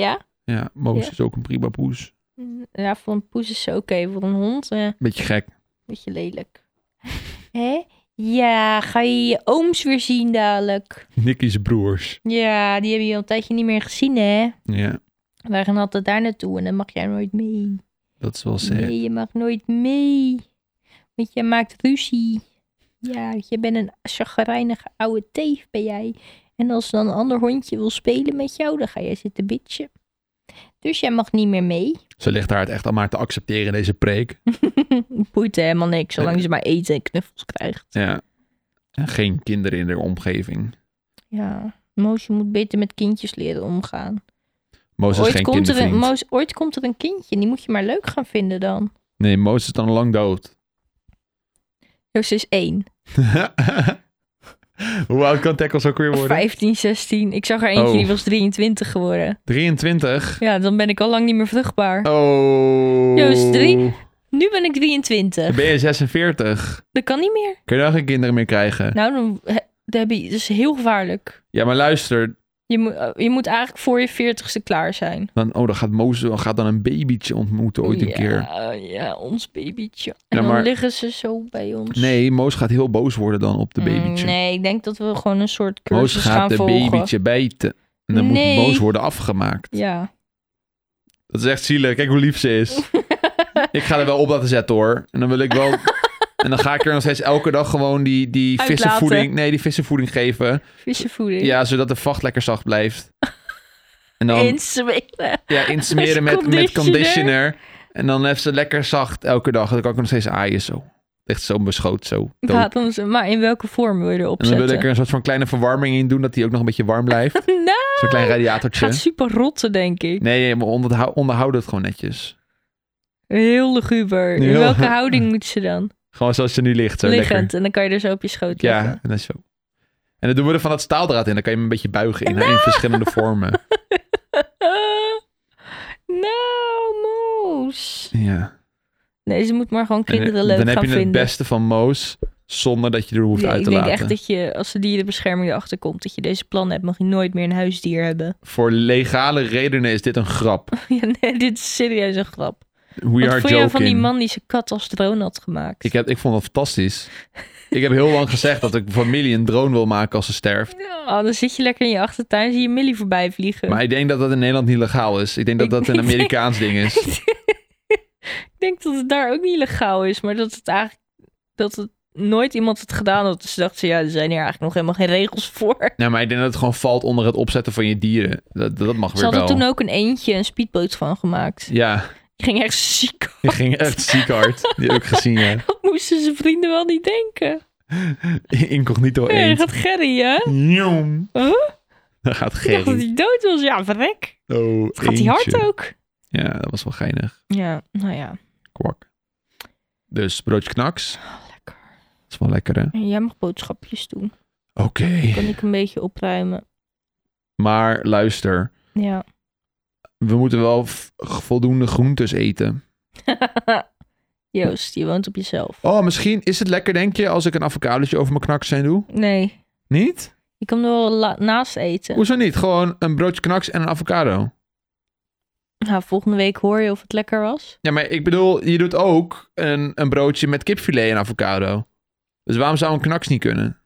B: ja?
A: Ja, Moos
B: Ja.
A: is ook een prima poes.
B: Mm, Ja, voor een poes is ze oké. Voor een hond, eh, een
A: Beetje gek.
B: beetje lelijk. Hè? Ja, ga je je ooms weer zien dadelijk.
A: Nicky's broers.
B: Ja, die hebben je al een tijdje niet meer gezien, hè?
A: Ja,
B: Wij gaan altijd daar naartoe en dan mag jij nooit mee.
A: dat is wel zeker.
B: Nee, je mag nooit mee. Want je maakt ruzie. Ja, je bent een chagrijnige oude teef, ben jij. En als dan een ander hondje wil spelen met jou, dan ga jij zitten bitchen. Dus jij mag niet meer mee.
A: Ze ligt daar het echt aan maar te accepteren in deze preek.
B: Boeit helemaal niks, zolang ze maar eten en knuffels krijgt.
A: Ja. En geen kinderen in haar omgeving.
B: Ja, Moos, je moet beter met kindjes leren omgaan.
A: Moos is
B: Ooit
A: geen
B: komt, er een,
A: kindervriend.
B: Moos, ooit komt er een kindje en die moet je maar leuk gaan vinden dan.
A: Nee, Moos is dan lang dood.
B: Joost is één.
A: Hoe oud kan Tackles ook weer worden?
B: 15, 16. Ik zag er eentje
A: Oh.
B: die was 23 geworden.
A: 23.
B: Ja, dan ben ik al lang niet meer vruchtbaar.
A: Oh.
B: Joost, drie. Nu ben ik 23.
A: Dan ben je 46.
B: Dat kan niet meer.
A: Kun je dan geen kinderen meer krijgen?
B: Nou, dan, he- dan heb je, dat is heel gevaarlijk.
A: Ja, maar luister.
B: Je moet, eh, je moet eigenlijk voor je veertigste klaar zijn.
A: Dan, oh, dan gaat Mozes wel- gaat dan een babytje ontmoeten ooit een
B: ja,
A: keer.
B: Ja, ons babytje. En
A: Ja,
B: dan
A: maar-
B: liggen ze zo bij ons.
A: Nee, Moos gaat heel boos worden dan op de
B: Mm,
A: babytje.
B: Nee, ik denk dat we gewoon een soort cursus
A: Moos gaat
B: gaan
A: de
B: volgen.
A: babytje bijten. En dan
B: Nee.
A: moet Moos worden afgemaakt.
B: Ja.
A: Dat is echt zielig. Kijk hoe lief ze is. ik ga er wel op laten zetten hoor. En dan wil ik wel... en dan ga ik er nog steeds elke dag gewoon die, die
B: Uitlaten.
A: vissenvoeding... Nee, die vissenvoeding geven.
B: Vissenvoeding.
A: Ja, zodat de vacht lekker zacht blijft. En dan
B: Insmeren.
A: ja, insmeren met,
B: Met
A: met
B: conditioner.
A: conditioner. En dan heeft ze lekker zacht elke dag. En dan kan ik hem nog steeds aaien zo. Echt zo beschoot zo. dood.
B: Gaat ons, maar in welke vorm wil je erop
A: En dan wil
B: zetten?
A: ik er een soort van kleine verwarming in doen, dat hij ook nog een beetje warm blijft.
B: Nou,
A: Zo'n klein radiatortje.
B: gaat super rotten, denk ik.
A: Nee, nee, maar onderhou- onderhouden het gewoon netjes.
B: Heel luguber. In
A: Heel-
B: welke houding moet ze dan?
A: Gewoon zoals ze nu ligt. Zo
B: Liggend.
A: lekker.
B: En dan kan je er zo op je schoot
A: Ja,
B: liggen.
A: en dat is zo. En dan doen we er van dat staaldraad in. Dan kan je hem een beetje buigen in, in verschillende vormen.
B: Eh, nou, Moes.
A: Ja.
B: Nee, ze moet maar gewoon
A: En eh,
B: kinderen leuk
A: dan heb
B: gaan
A: je het
B: vinden.
A: beste van Moos zonder dat je er hoeft
B: Ja,
A: uit
B: ik
A: te
B: denk
A: laten.
B: echt dat je, als de dierenbescherming erachter komt, dat je deze plannen hebt, mag je nooit meer een huisdier hebben.
A: Voor legale redenen is dit een grap.
B: ja, nee, dit is serieus een grap.
A: We
B: Wat
A: are
B: vond
A: joking.
B: je van die man die zijn kat als drone had gemaakt?
A: Ik, heb, ik vond dat fantastisch. ik heb heel lang gezegd dat ik familie een drone wil maken als ze sterft.
B: Oh, dan zit je lekker in je achtertuin, zie je Millie voorbij vliegen.
A: Maar ik denk dat dat in Nederland niet legaal is. Ik denk dat
B: Ik-
A: dat een
B: ik denk-
A: Amerikaans ding is.
B: Ik denk dat het daar ook niet legaal is, maar dat het eigenlijk dat het nooit iemand het gedaan had. Dus dachten ze, ja, er zijn hier eigenlijk nog helemaal geen regels voor.
A: Nou, maar ik denk dat het gewoon valt onder het opzetten van je dieren. Dat, dat mag
B: Ze
A: weer
B: hadden
A: wel.
B: toen ook een eentje een speedboot van gemaakt.
A: Ja,
B: Die ging echt ziek.
A: die ging echt ziek hard. Die heb ik gezien, ja.
B: Wat moesten zijn vrienden wel niet denken?
A: Incognito
B: Hé,
A: eend.
B: gaat Gerry, hè?
A: Jong.
B: Huh?
A: Daar gaat
B: Ik dacht dat
A: Gerry.
B: hij dood was. Ja, verrek.
A: Oh,
B: Wat Gaat hij hard
A: eentje.
B: ook?
A: Ja, dat was wel geinig.
B: Ja, nou ja.
A: Kwak. Dus broodje knaks.
B: Oh, Lekker.
A: Dat is wel lekker, hè?
B: Jij mag boodschapjes doen.
A: Oké.
B: Kan ik een beetje opruimen.
A: Maar luister.
B: Ja.
A: We moeten wel v- voldoende groentes eten.
B: Joost, je woont op jezelf.
A: Oh, misschien is het lekker, denk je, als ik een avocadoetje over mijn knaks heen doe?
B: Nee,
A: Niet?
B: je kan er wel la- naast eten.
A: Hoezo niet? Gewoon een broodje knaks en een avocado.
B: Nou, volgende week hoor je of het lekker was.
A: Ja, maar ik bedoel, je doet ook een, een broodje met kipfilet en avocado. Dus waarom zou een knaks niet kunnen?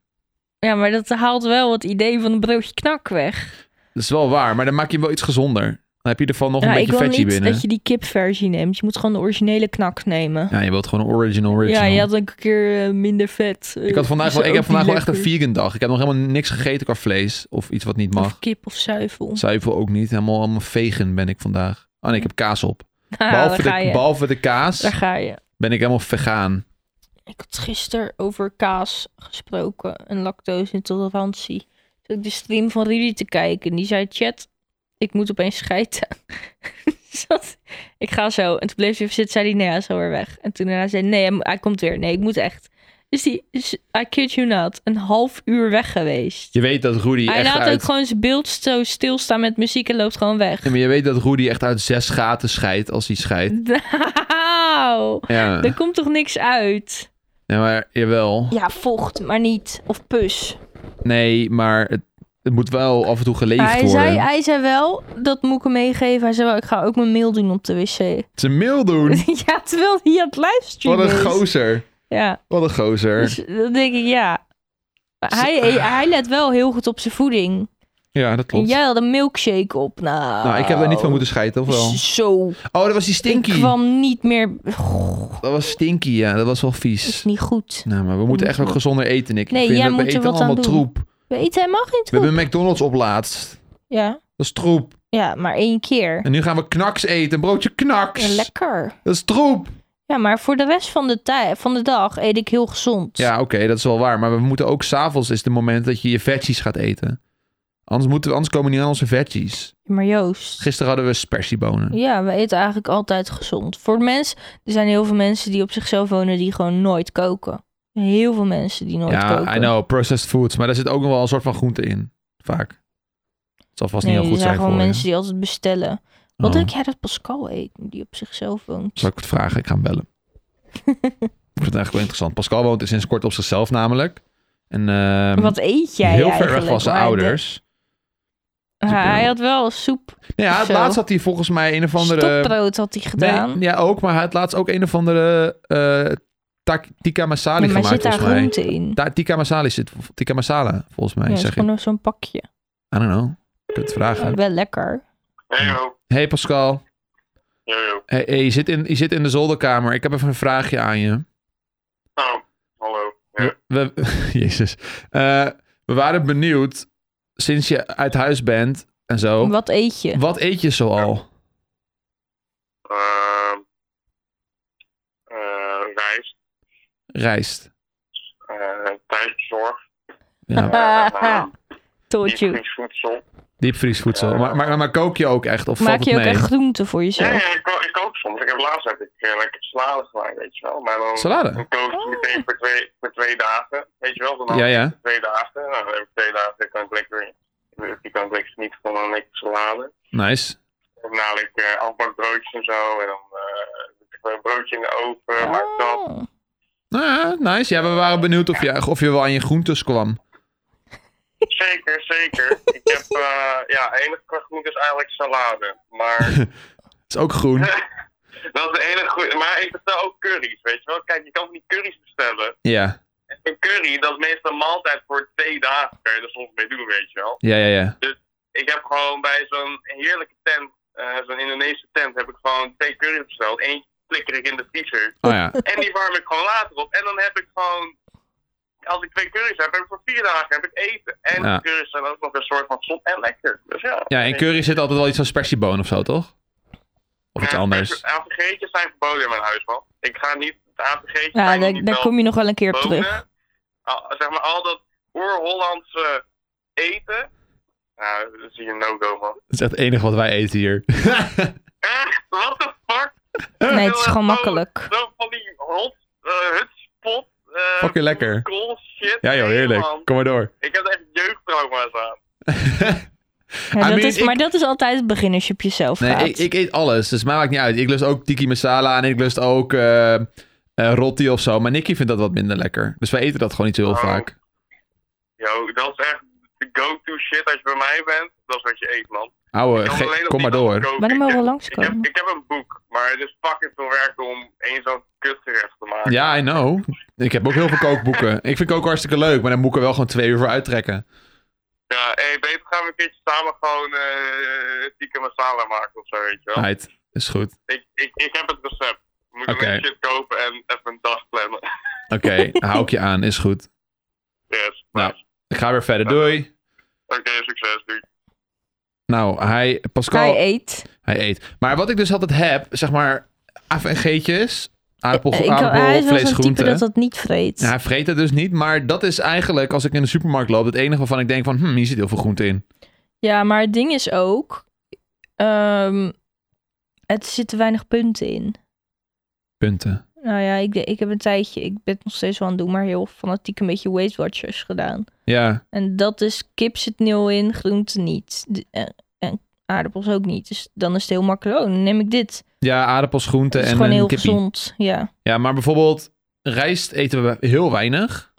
B: Ja, maar dat haalt wel het idee van een broodje knak weg.
A: Dat is wel waar, maar dan maak je hem wel iets gezonder. Dan heb je er van nog
B: ja,
A: een
B: ik
A: beetje
B: wil
A: vetje
B: niet
A: binnen.
B: dat je die kipversie neemt. Je moet gewoon de originele knak nemen.
A: Ja, je wilt gewoon een original original.
B: Ja, je had dus ook een keer eh, minder vet. eh,
A: ik, had vandaag wel, ik heb vandaag wel echt een vegan dag. Ik heb nog helemaal niks gegeten qua vlees of iets wat niet
B: Of
A: mag.
B: kip of zuivel.
A: Zuivel ook niet. Helemaal, helemaal vegan ben ik vandaag. Oh nee, ik heb kaas op.
B: Ah,
A: Behalve,
B: daar, ga
A: de,
B: je.
A: behalve de
B: daar
A: kaas
B: ga je.
A: ben ik helemaal vegaan.
B: Ik had gisteren over kaas gesproken en lactose-intolerantie. Toen ik de stream van Riri te kijken. en Die zei, chat, ik moet opeens scheiden. Dus dat- ik ga zo. En toen bleef hij even zitten, zei hij, nee, hij is alweer weg. En toen daarna zei hij, nee, hij, mo- hij komt weer. Nee, ik moet echt. Dus die is, I kid you not, een half uur weg geweest.
A: Je weet dat Rudy
B: hij
A: echt
B: laat ook
A: uit...
B: gewoon zijn beeld zo stilstaan met muziek en loopt gewoon weg.
A: Ja, maar je weet dat Rudy echt uit zes gaten scheidt als hij scheidt.
B: Nou,
A: Ja,
B: er komt toch niks uit?
A: ja maar jawel.
B: Ja, vocht, maar niet. Of pus.
A: Nee, maar het, het moet wel af en toe geleefd
B: Hij
A: worden.
B: zei, hij zei wel, dat moet ik hem meegeven. Hij zei wel, ik ga ook mijn mail doen op de wc.
A: Ze mail doen.
B: ja, terwijl hij aan het
A: Hm. Wat
B: livestreamen
A: een
B: is.
A: gozer.
B: Ja,
A: Wat een gozer.
B: dus dan denk ik, ja. Maar Hij, eh, hij let wel heel goed op zijn voeding.
A: Ja, dat
B: En
A: klopt.
B: jij had een milkshake op. Nou,
A: Nou, ik heb er niet van moeten scheiden, of wel?
B: Zo.
A: Oh, dat was die
B: Ik
A: stinky.
B: kwam niet meer... Goh,
A: Dat was stinky, ja. Dat was wel
B: dat is
A: vies.
B: niet goed.
A: Nou, maar we moeten echt ook gezonder eten, Nick.
B: Nee,
A: ik vind
B: jij
A: dat we
B: moet er
A: eten
B: wat aan
A: allemaal
B: doen.
A: troep.
B: We eten helemaal geen
A: We
B: troep.
A: hebben McDonald's op laatst.
B: Ja.
A: Dat is troep.
B: ja, maar één keer.
A: En nu gaan we knaks eten. Een broodje
B: Ja,
A: knaks.
B: lekker.
A: Dat is troep.
B: Ja, maar voor de rest van de, tijd, van de dag eet ik heel gezond.
A: Ja, oké, dat is wel waar. Maar we moeten ook s'avonds is het moment dat je je veggies gaat eten. Anders, moeten we, anders komen we niet aan onze veggies.
B: Maar Joost...
A: Gisteren hadden we spersiebonen.
B: Ja, we eten eigenlijk altijd gezond. Voor mensen, er zijn heel veel mensen die op zichzelf wonen die gewoon nooit koken. Heel veel mensen die nooit
A: Ja,
B: koken.
A: I know, processed foods. Maar daar zit ook nog wel een soort van groente in. Vaak. Het zal vast
B: Nee,
A: niet heel
B: er
A: goed zijn
B: zijn
A: voor
B: gewoon
A: je.
B: mensen die altijd bestellen. Wat
A: Oh,
B: denk jij dat Pascal eet, die op zichzelf woont?
A: Zal ik het vragen? Ik ga hem bellen. ik vind het eigenlijk wel interessant. Pascal woont dus sinds kort op zichzelf namelijk. En ehm,
B: Wat eet jij
A: heel ver
B: eigenlijk?
A: weg van zijn
B: Waar de-
A: ouders. Super.
B: hij had wel soep.
A: Nee, ja, het
B: Zo.
A: laatst had hij volgens mij een of andere...
B: Stokbrood had hij gedaan.
A: eh, Nee, ja, ook. Maar hij had laatst ook een of andere eh tak- tikka masala
B: Ja, maar
A: gemaakt,
B: zit daar
A: volgens mij.
B: groente in?
A: Ta- tikka masala zit... Tikka masala, volgens mij,
B: Ja, het is
A: zeg ik.
B: gewoon nog zo'n pakje.
A: I don't know. Ik kan het vragen.
B: Wel lekker.
C: Hey yo,
A: Hey Pascal.
C: yo, yo.
A: Hey, hey, je, zit in, je zit in de zolderkamer. Ik heb even een vraagje aan je.
C: Nou, hallo. Ja.
A: We, we- Jezus. Eh, we waren benieuwd, sinds je uit huis bent en zo.
B: Wat eet je?
A: Wat eet je zoal?
C: Ehm, eh, rijst,
A: Rijst.
C: eh thuiszorg,
A: Ja,
C: eh,
B: Told you.
C: diepvriesvoedsel.
A: diepvriesvoedsel. Maar, maar, maar kook je ook echt? Of
B: Maak
A: valt het
B: je ook
A: mee?
B: echt groenten voor
C: Ja,
B: jezelf?
C: ja, ik, ko- ik kook soms. Ik heb laatst heb ik eh, lekker salade gemaakt, weet je wel. Maar dan
A: Salade?
C: dan kook ik meteen voor twee, voor twee dagen, weet je wel. Dan had
A: Ja,
C: ik
A: ja.
C: twee dagen. Nou, dan heb ik twee dagen, dan kan ik lekker, die kan ik lekker genieten van een lekker salade.
A: Nice.
C: En namelijk eh afbakbroodjes en zo. En dan eh, doe ik een broodje in de oven, maak dat.
B: Oh.
A: Nou ja, nice. Ja, we waren benieuwd of je, of je wel aan je groentes kwam.
C: Zeker, zeker. ik heb, eh ja, enige qua groente is eigenlijk salade. Maar
A: Het is ook groen.
C: dat is de enige goede. Maar ik bestel ook curry's, weet je wel. Kijk, je kan ook niet curry's bestellen.
A: Ja,
C: Een curry, dat is meestal een maaltijd voor twee dagen. Kan je er soms mee doen, weet je wel.
A: ja, ja. ja.
C: Ik heb gewoon bij zo'n heerlijke tent, eh, zo'n Indonesische tent, heb ik gewoon twee curry's besteld. Eentje flikker ik in de vriezer.
A: Oh ja.
C: En die warm ik gewoon later op. En dan heb ik gewoon... Als ik twee curry's heb, heb ik voor vier dagen heb ik eten. En
A: Ja.
C: curry's zijn ook nog een soort van zon en lekker. Dus ja.
A: Ja, in curry zit altijd wel iets van spersieboon of zo, toch? Of iets
C: Ja,
A: anders.
C: AVG'tjes zijn verboden in mijn huis, man. Ik ga niet... De AVG'tjes
B: Ja,
C: zijn
B: daar,
C: niet
B: daar
C: wel
B: kom je nog wel een keer op
C: verboden.
B: terug.
C: Al- zeg maar, al dat oer-Hollandse eten... Nou, dat zie je een no-go, man.
A: Dat is echt het enige wat wij eten hier.
C: Echt? What the fuck?
B: Nee, het is gewoon makkelijk.
C: Zo van die hot, eh, hutspot... eh,
A: Fucking lekker.
C: cool shit.
A: ja joh,
C: Nee,
A: heerlijk.
C: man.
A: Kom maar door.
C: Ik heb echt jeugdtrauma's aan.
B: Ja,
A: I
B: dat
A: mean,
B: is,
A: ik-
B: Maar dat is altijd het begin als je op jezelf
A: Nee,
B: gaat.
A: ik, ik eet alles, dus mij maakt niet uit. Ik lust ook tiki masala en ik lust ook eh eh, rotti of zo. Maar Nicky vindt dat wat minder lekker. Dus wij eten dat gewoon niet zo heel
C: Oh.
A: vaak.
C: Yo, dat is echt de go-to shit als je bij mij bent. Dat is wat je eet, man.
A: Ouwe,
C: Ik kan
A: ge-
C: alleen nog
A: kom maar
C: niet
A: door.
C: afkoken.
B: maar dan mogen we
C: Ik heb,
B: langskomen.
C: ik heb een boek, maar het is fucking veel werk om één zo'n kutgerecht te maken.
A: Ja, I know. Ik heb ook heel veel kookboeken. Ik vind koken hartstikke leuk, maar dan moet ik er wel gewoon twee uur voor uittrekken.
C: Ja, hey, beter gaan we een keertje samen gewoon eh tikka masala maken of zo, weet je wel.
A: Right, is goed.
C: Ik, ik, ik heb het recept. Moet
A: Oké.
C: alleen shit kopen en even een dag plannen.
A: Oké, hou ik je aan, is goed.
C: Yes.
A: Nou.
C: nice.
A: Ik ga weer verder, doei.
C: Oké, succes, doei.
A: Nou, hij, Pascal,
B: Hij
A: hij,
B: eet.
A: eet. Maar wat ik dus altijd heb, zeg maar, AVG'tjes, aardappel,
B: Ik- hij
A: aardappel,
B: is wel
A: vlees,
B: zo'n type
A: groente.
B: dat dat niet vreet.
A: Ja, hij vreet het dus niet, maar dat is eigenlijk, als ik in de supermarkt loop, het enige waarvan ik denk van, hm, hier zit heel veel groente in.
B: Ja, maar het ding is ook... ehm, het zit te weinig punten in.
A: Punten.
B: Nou ja, ik, ik heb een tijdje... Ik ben het nog steeds wel aan het doen, maar heel fanatiek een beetje Weight Watchers gedaan.
A: Ja,
B: En dat is kip zit nul in, groente niet. De- en, en aardappels ook niet. Dus dan is het heel makkelijk. Oh, dan neem ik dit.
A: ja aardappels, groenten
B: Het is
A: en
B: gewoon
A: een
B: heel
A: kippie.
B: gezond. Ja.
A: Ja, maar bijvoorbeeld rijst eten we heel weinig.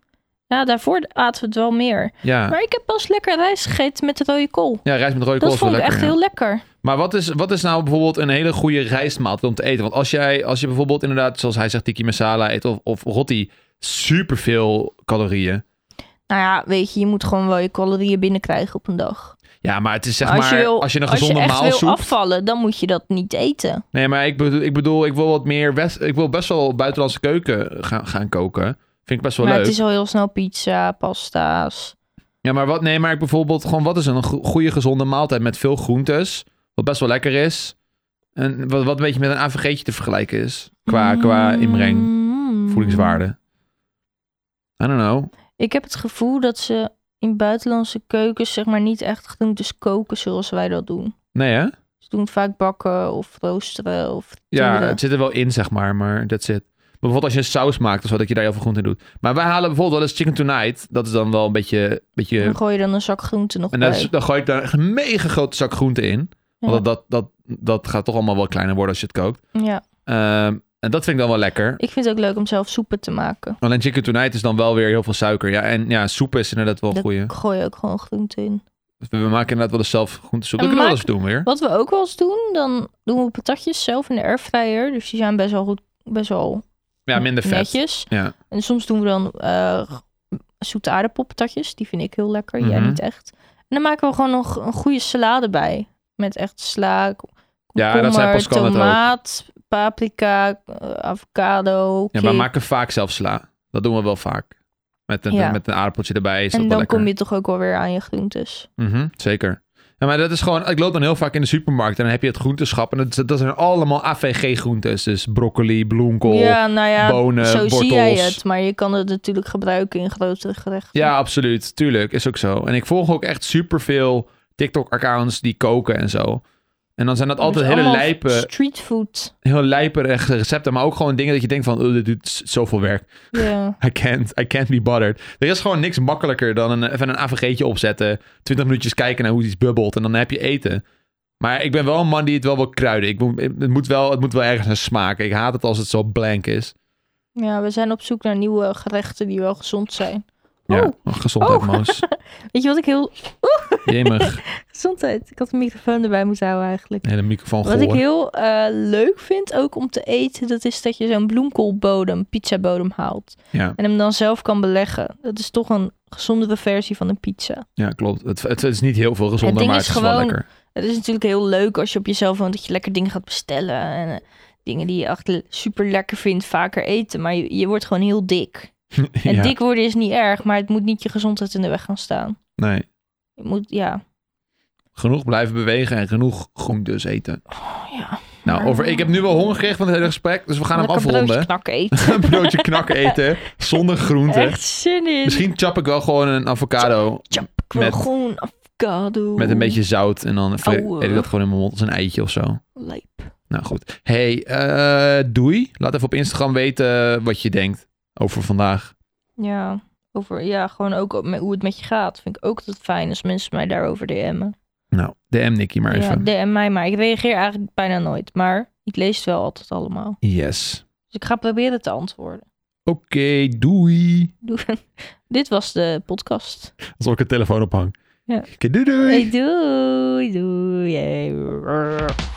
B: ja, daarvoor aten we het wel meer.
A: Ja,
B: Maar ik heb pas lekker rijst gegeten met rode kool.
A: ja rijst met rode kool
B: Dat
A: is wel
B: vond ik
A: lekker.
B: echt
A: ja.
B: heel lekker.
A: Maar wat is, wat is nou bijvoorbeeld een hele goede rijstmaaltijd om te eten? Want als, jij, als je bijvoorbeeld inderdaad, zoals hij zegt, tiki masala eet of, of rotti, superveel calorieën.
B: Nou ja, weet je, je moet gewoon wel je calorieën binnenkrijgen op een dag.
A: Ja, maar het is zeg
B: Maar
A: maar,
B: wil-
A: als je een
B: als
A: gezonde
B: echt
A: maal
B: wil
A: zoekt-
B: afvallen, dan moet je dat niet eten.
A: Nee, maar ik bedoel, ik bedoel, ik wil wat meer West. Ik wil best wel buitenlandse keuken gaan, gaan koken. Vind ik best wel
B: maar
A: leuk.
B: het is al heel snel pizza, pasta's.
A: Ja, maar wat? Nee, maar ik bijvoorbeeld gewoon wat is een go- goede gezonde maaltijd met veel groentes, wat best wel lekker is. En wat, wat een beetje met een AVG'tje te vergelijken is qua, qua inbreng,
B: Mm.
A: voedingswaarde. I don't know.
B: Ik heb het gevoel dat ze in buitenlandse keukens zeg maar niet echt groentes koken zoals wij dat doen.
A: Nee hè?
B: Ze doen het vaak bakken of roosteren of
A: Ja,
B: frituren.
A: het zit er wel in zeg maar, maar that's it. Maar Bijvoorbeeld als je een saus maakt of zo, dat je daar heel veel groente in doet. Maar wij halen bijvoorbeeld wel eens chicken tonight. Dat is dan wel een beetje... beetje
B: Dan gooi je dan een zak groenten nog
A: en
B: bij.
A: dat is- dan gooi ik daar een mega grote zak groente in.
B: Ja.
A: Want dat, dat, dat, dat gaat toch allemaal wel kleiner worden als je het kookt.
B: Ja.
A: Ehm, en dat vind ik dan wel lekker.
B: Ik vind het ook leuk om zelf soepen te maken.
A: Alleen chicken tonight is dan wel weer heel veel suiker. Ja, en ja, soep is inderdaad wel een
B: Daar
A: goeie. Dus
B: gooi je ook gewoon groenten in.
A: We maken inderdaad wel eens zelf groentesoep. Dat
B: En
A: kunnen we wel
B: maak-
A: eens doen weer.
B: Wat we ook wel eens doen, dan doen we patatjes zelf in de airfryer. Dus die zijn best wel goed, best wel
A: Ja, minder vet.
B: Oh, netjes.
A: Ja.
B: En soms doen we dan eh zoete aardappelpatatjes. Die vind ik heel lekker,
A: Mhm.
B: jij niet echt. En dan maken we gewoon nog een goede salade bij. Met echt
A: Ja,
B: sla,
A: dat zei
B: komkommer,
A: Pascal net ook.
B: tomaat, paprika, eh, avocado,
A: Ja,
B: kip.
A: maar we maken vaak zelf sla. Dat doen we wel vaak. Met een,
B: Ja.
A: met een aardappeltje erbij is dat
B: En
A: wel
B: dan
A: lekker.
B: kom je toch ook wel weer aan je groentes.
A: Mhm, zeker. Ja, maar dat is gewoon... Ik loop dan heel vaak in de supermarkt en dan heb je het groenteschap. En dat, dat zijn allemaal AVG-groentes. Dus broccoli, bloemkool. Ja,
B: ja, nou ja,
A: bonen,
B: zo zie jij
A: wortels.
B: het. Maar je kan het natuurlijk gebruiken in grote gerechten.
A: absoluut. Tuurlijk, is ook zo. En ik volg ook echt superveel TikTok-accounts die koken en zo. En dan zijn dat altijd
B: Dus
A: hele
B: allemaal
A: lijpe,
B: Streetfood.
A: heel lijperige recepten. Maar ook gewoon dingen dat je denkt van... Oh, dit doet z- zoveel werk.
B: Ja.
A: I can't, I can't be bothered. Er is gewoon niks makkelijker dan een, even een AVG'tje opzetten. 20 minuutjes kijken naar hoe iets bubbelt en dan heb je eten. Maar ik ben wel een man die het wel wil kruiden. Ik, moet- het, moet wel, het moet wel ergens naar smaken. Ik haat het als het zo blank is.
B: ja, we zijn op zoek naar nieuwe gerechten die wel gezond zijn.
A: Ja,
B: Oh.
A: gezondheid,
B: Oh.
A: Moos.
B: Weet je wat ik heel...
A: Jemig.
B: Gezondheid. Ik had de microfoon erbij moeten houden eigenlijk.
A: En de microfoon
B: Wat ik
A: goor.
B: heel eh, leuk vind ook om te eten, dat is dat je zo'n bloemkoolbodem, pizzabodem haalt.
A: Ja,
B: En hem dan zelf kan beleggen. Dat is toch een gezondere versie van een pizza.
A: ja, klopt. Het, het is niet heel veel gezonder,
B: ding
A: maar het
B: is
A: is wel
B: gewoon-
A: lekker.
B: Het is natuurlijk heel leuk als je op jezelf woont dat je lekker dingen gaat bestellen. En eh, dingen die je echt super lekker vindt, vaker eten. Maar je, je wordt gewoon heel dik. En
A: ja,
B: dik worden is niet erg, maar het moet niet je gezondheid in de weg gaan staan.
A: nee.
B: Je moet, ja.
A: Genoeg blijven bewegen en genoeg groentes eten.
B: Oh, ja.
A: Nou, over, ik heb nu wel honger gekregen van het hele gesprek, dus we gaan
B: Lekker
A: hem
B: broodje
A: afronden.
B: knakken eten.
A: Een broodje knak eten, zonder groenten.
B: Echt zin in.
A: Misschien chop ik wel gewoon een avocado
B: Tjap, ik wil
A: met-
B: gewoon avocado.
A: met een beetje zout. En dan vle-
B: Auwe.
A: eet ik dat gewoon in mijn mond als een eitje of zo.
B: Lijp.
A: Nou goed. Hey, eh, doei. Laat even op Instagram weten wat je denkt over vandaag.
B: Ja, over, ja, gewoon ook op met hoe het met je gaat. Vind ik ook altijd fijn als mensen mij daarover DM'en.
A: Nou, DM Nicky maar
B: Ja,
A: even.
B: DM mij maar. Ik reageer eigenlijk bijna nooit. Maar ik lees het wel altijd allemaal.
A: Yes.
B: Dus ik ga proberen te antwoorden.
A: Oké, doei.
B: Doe- Dit was de podcast.
A: Alsof ik een telefoon ophang.
B: Ja.
A: Oké, doei doei.
B: Hey, doei, doei. Hey.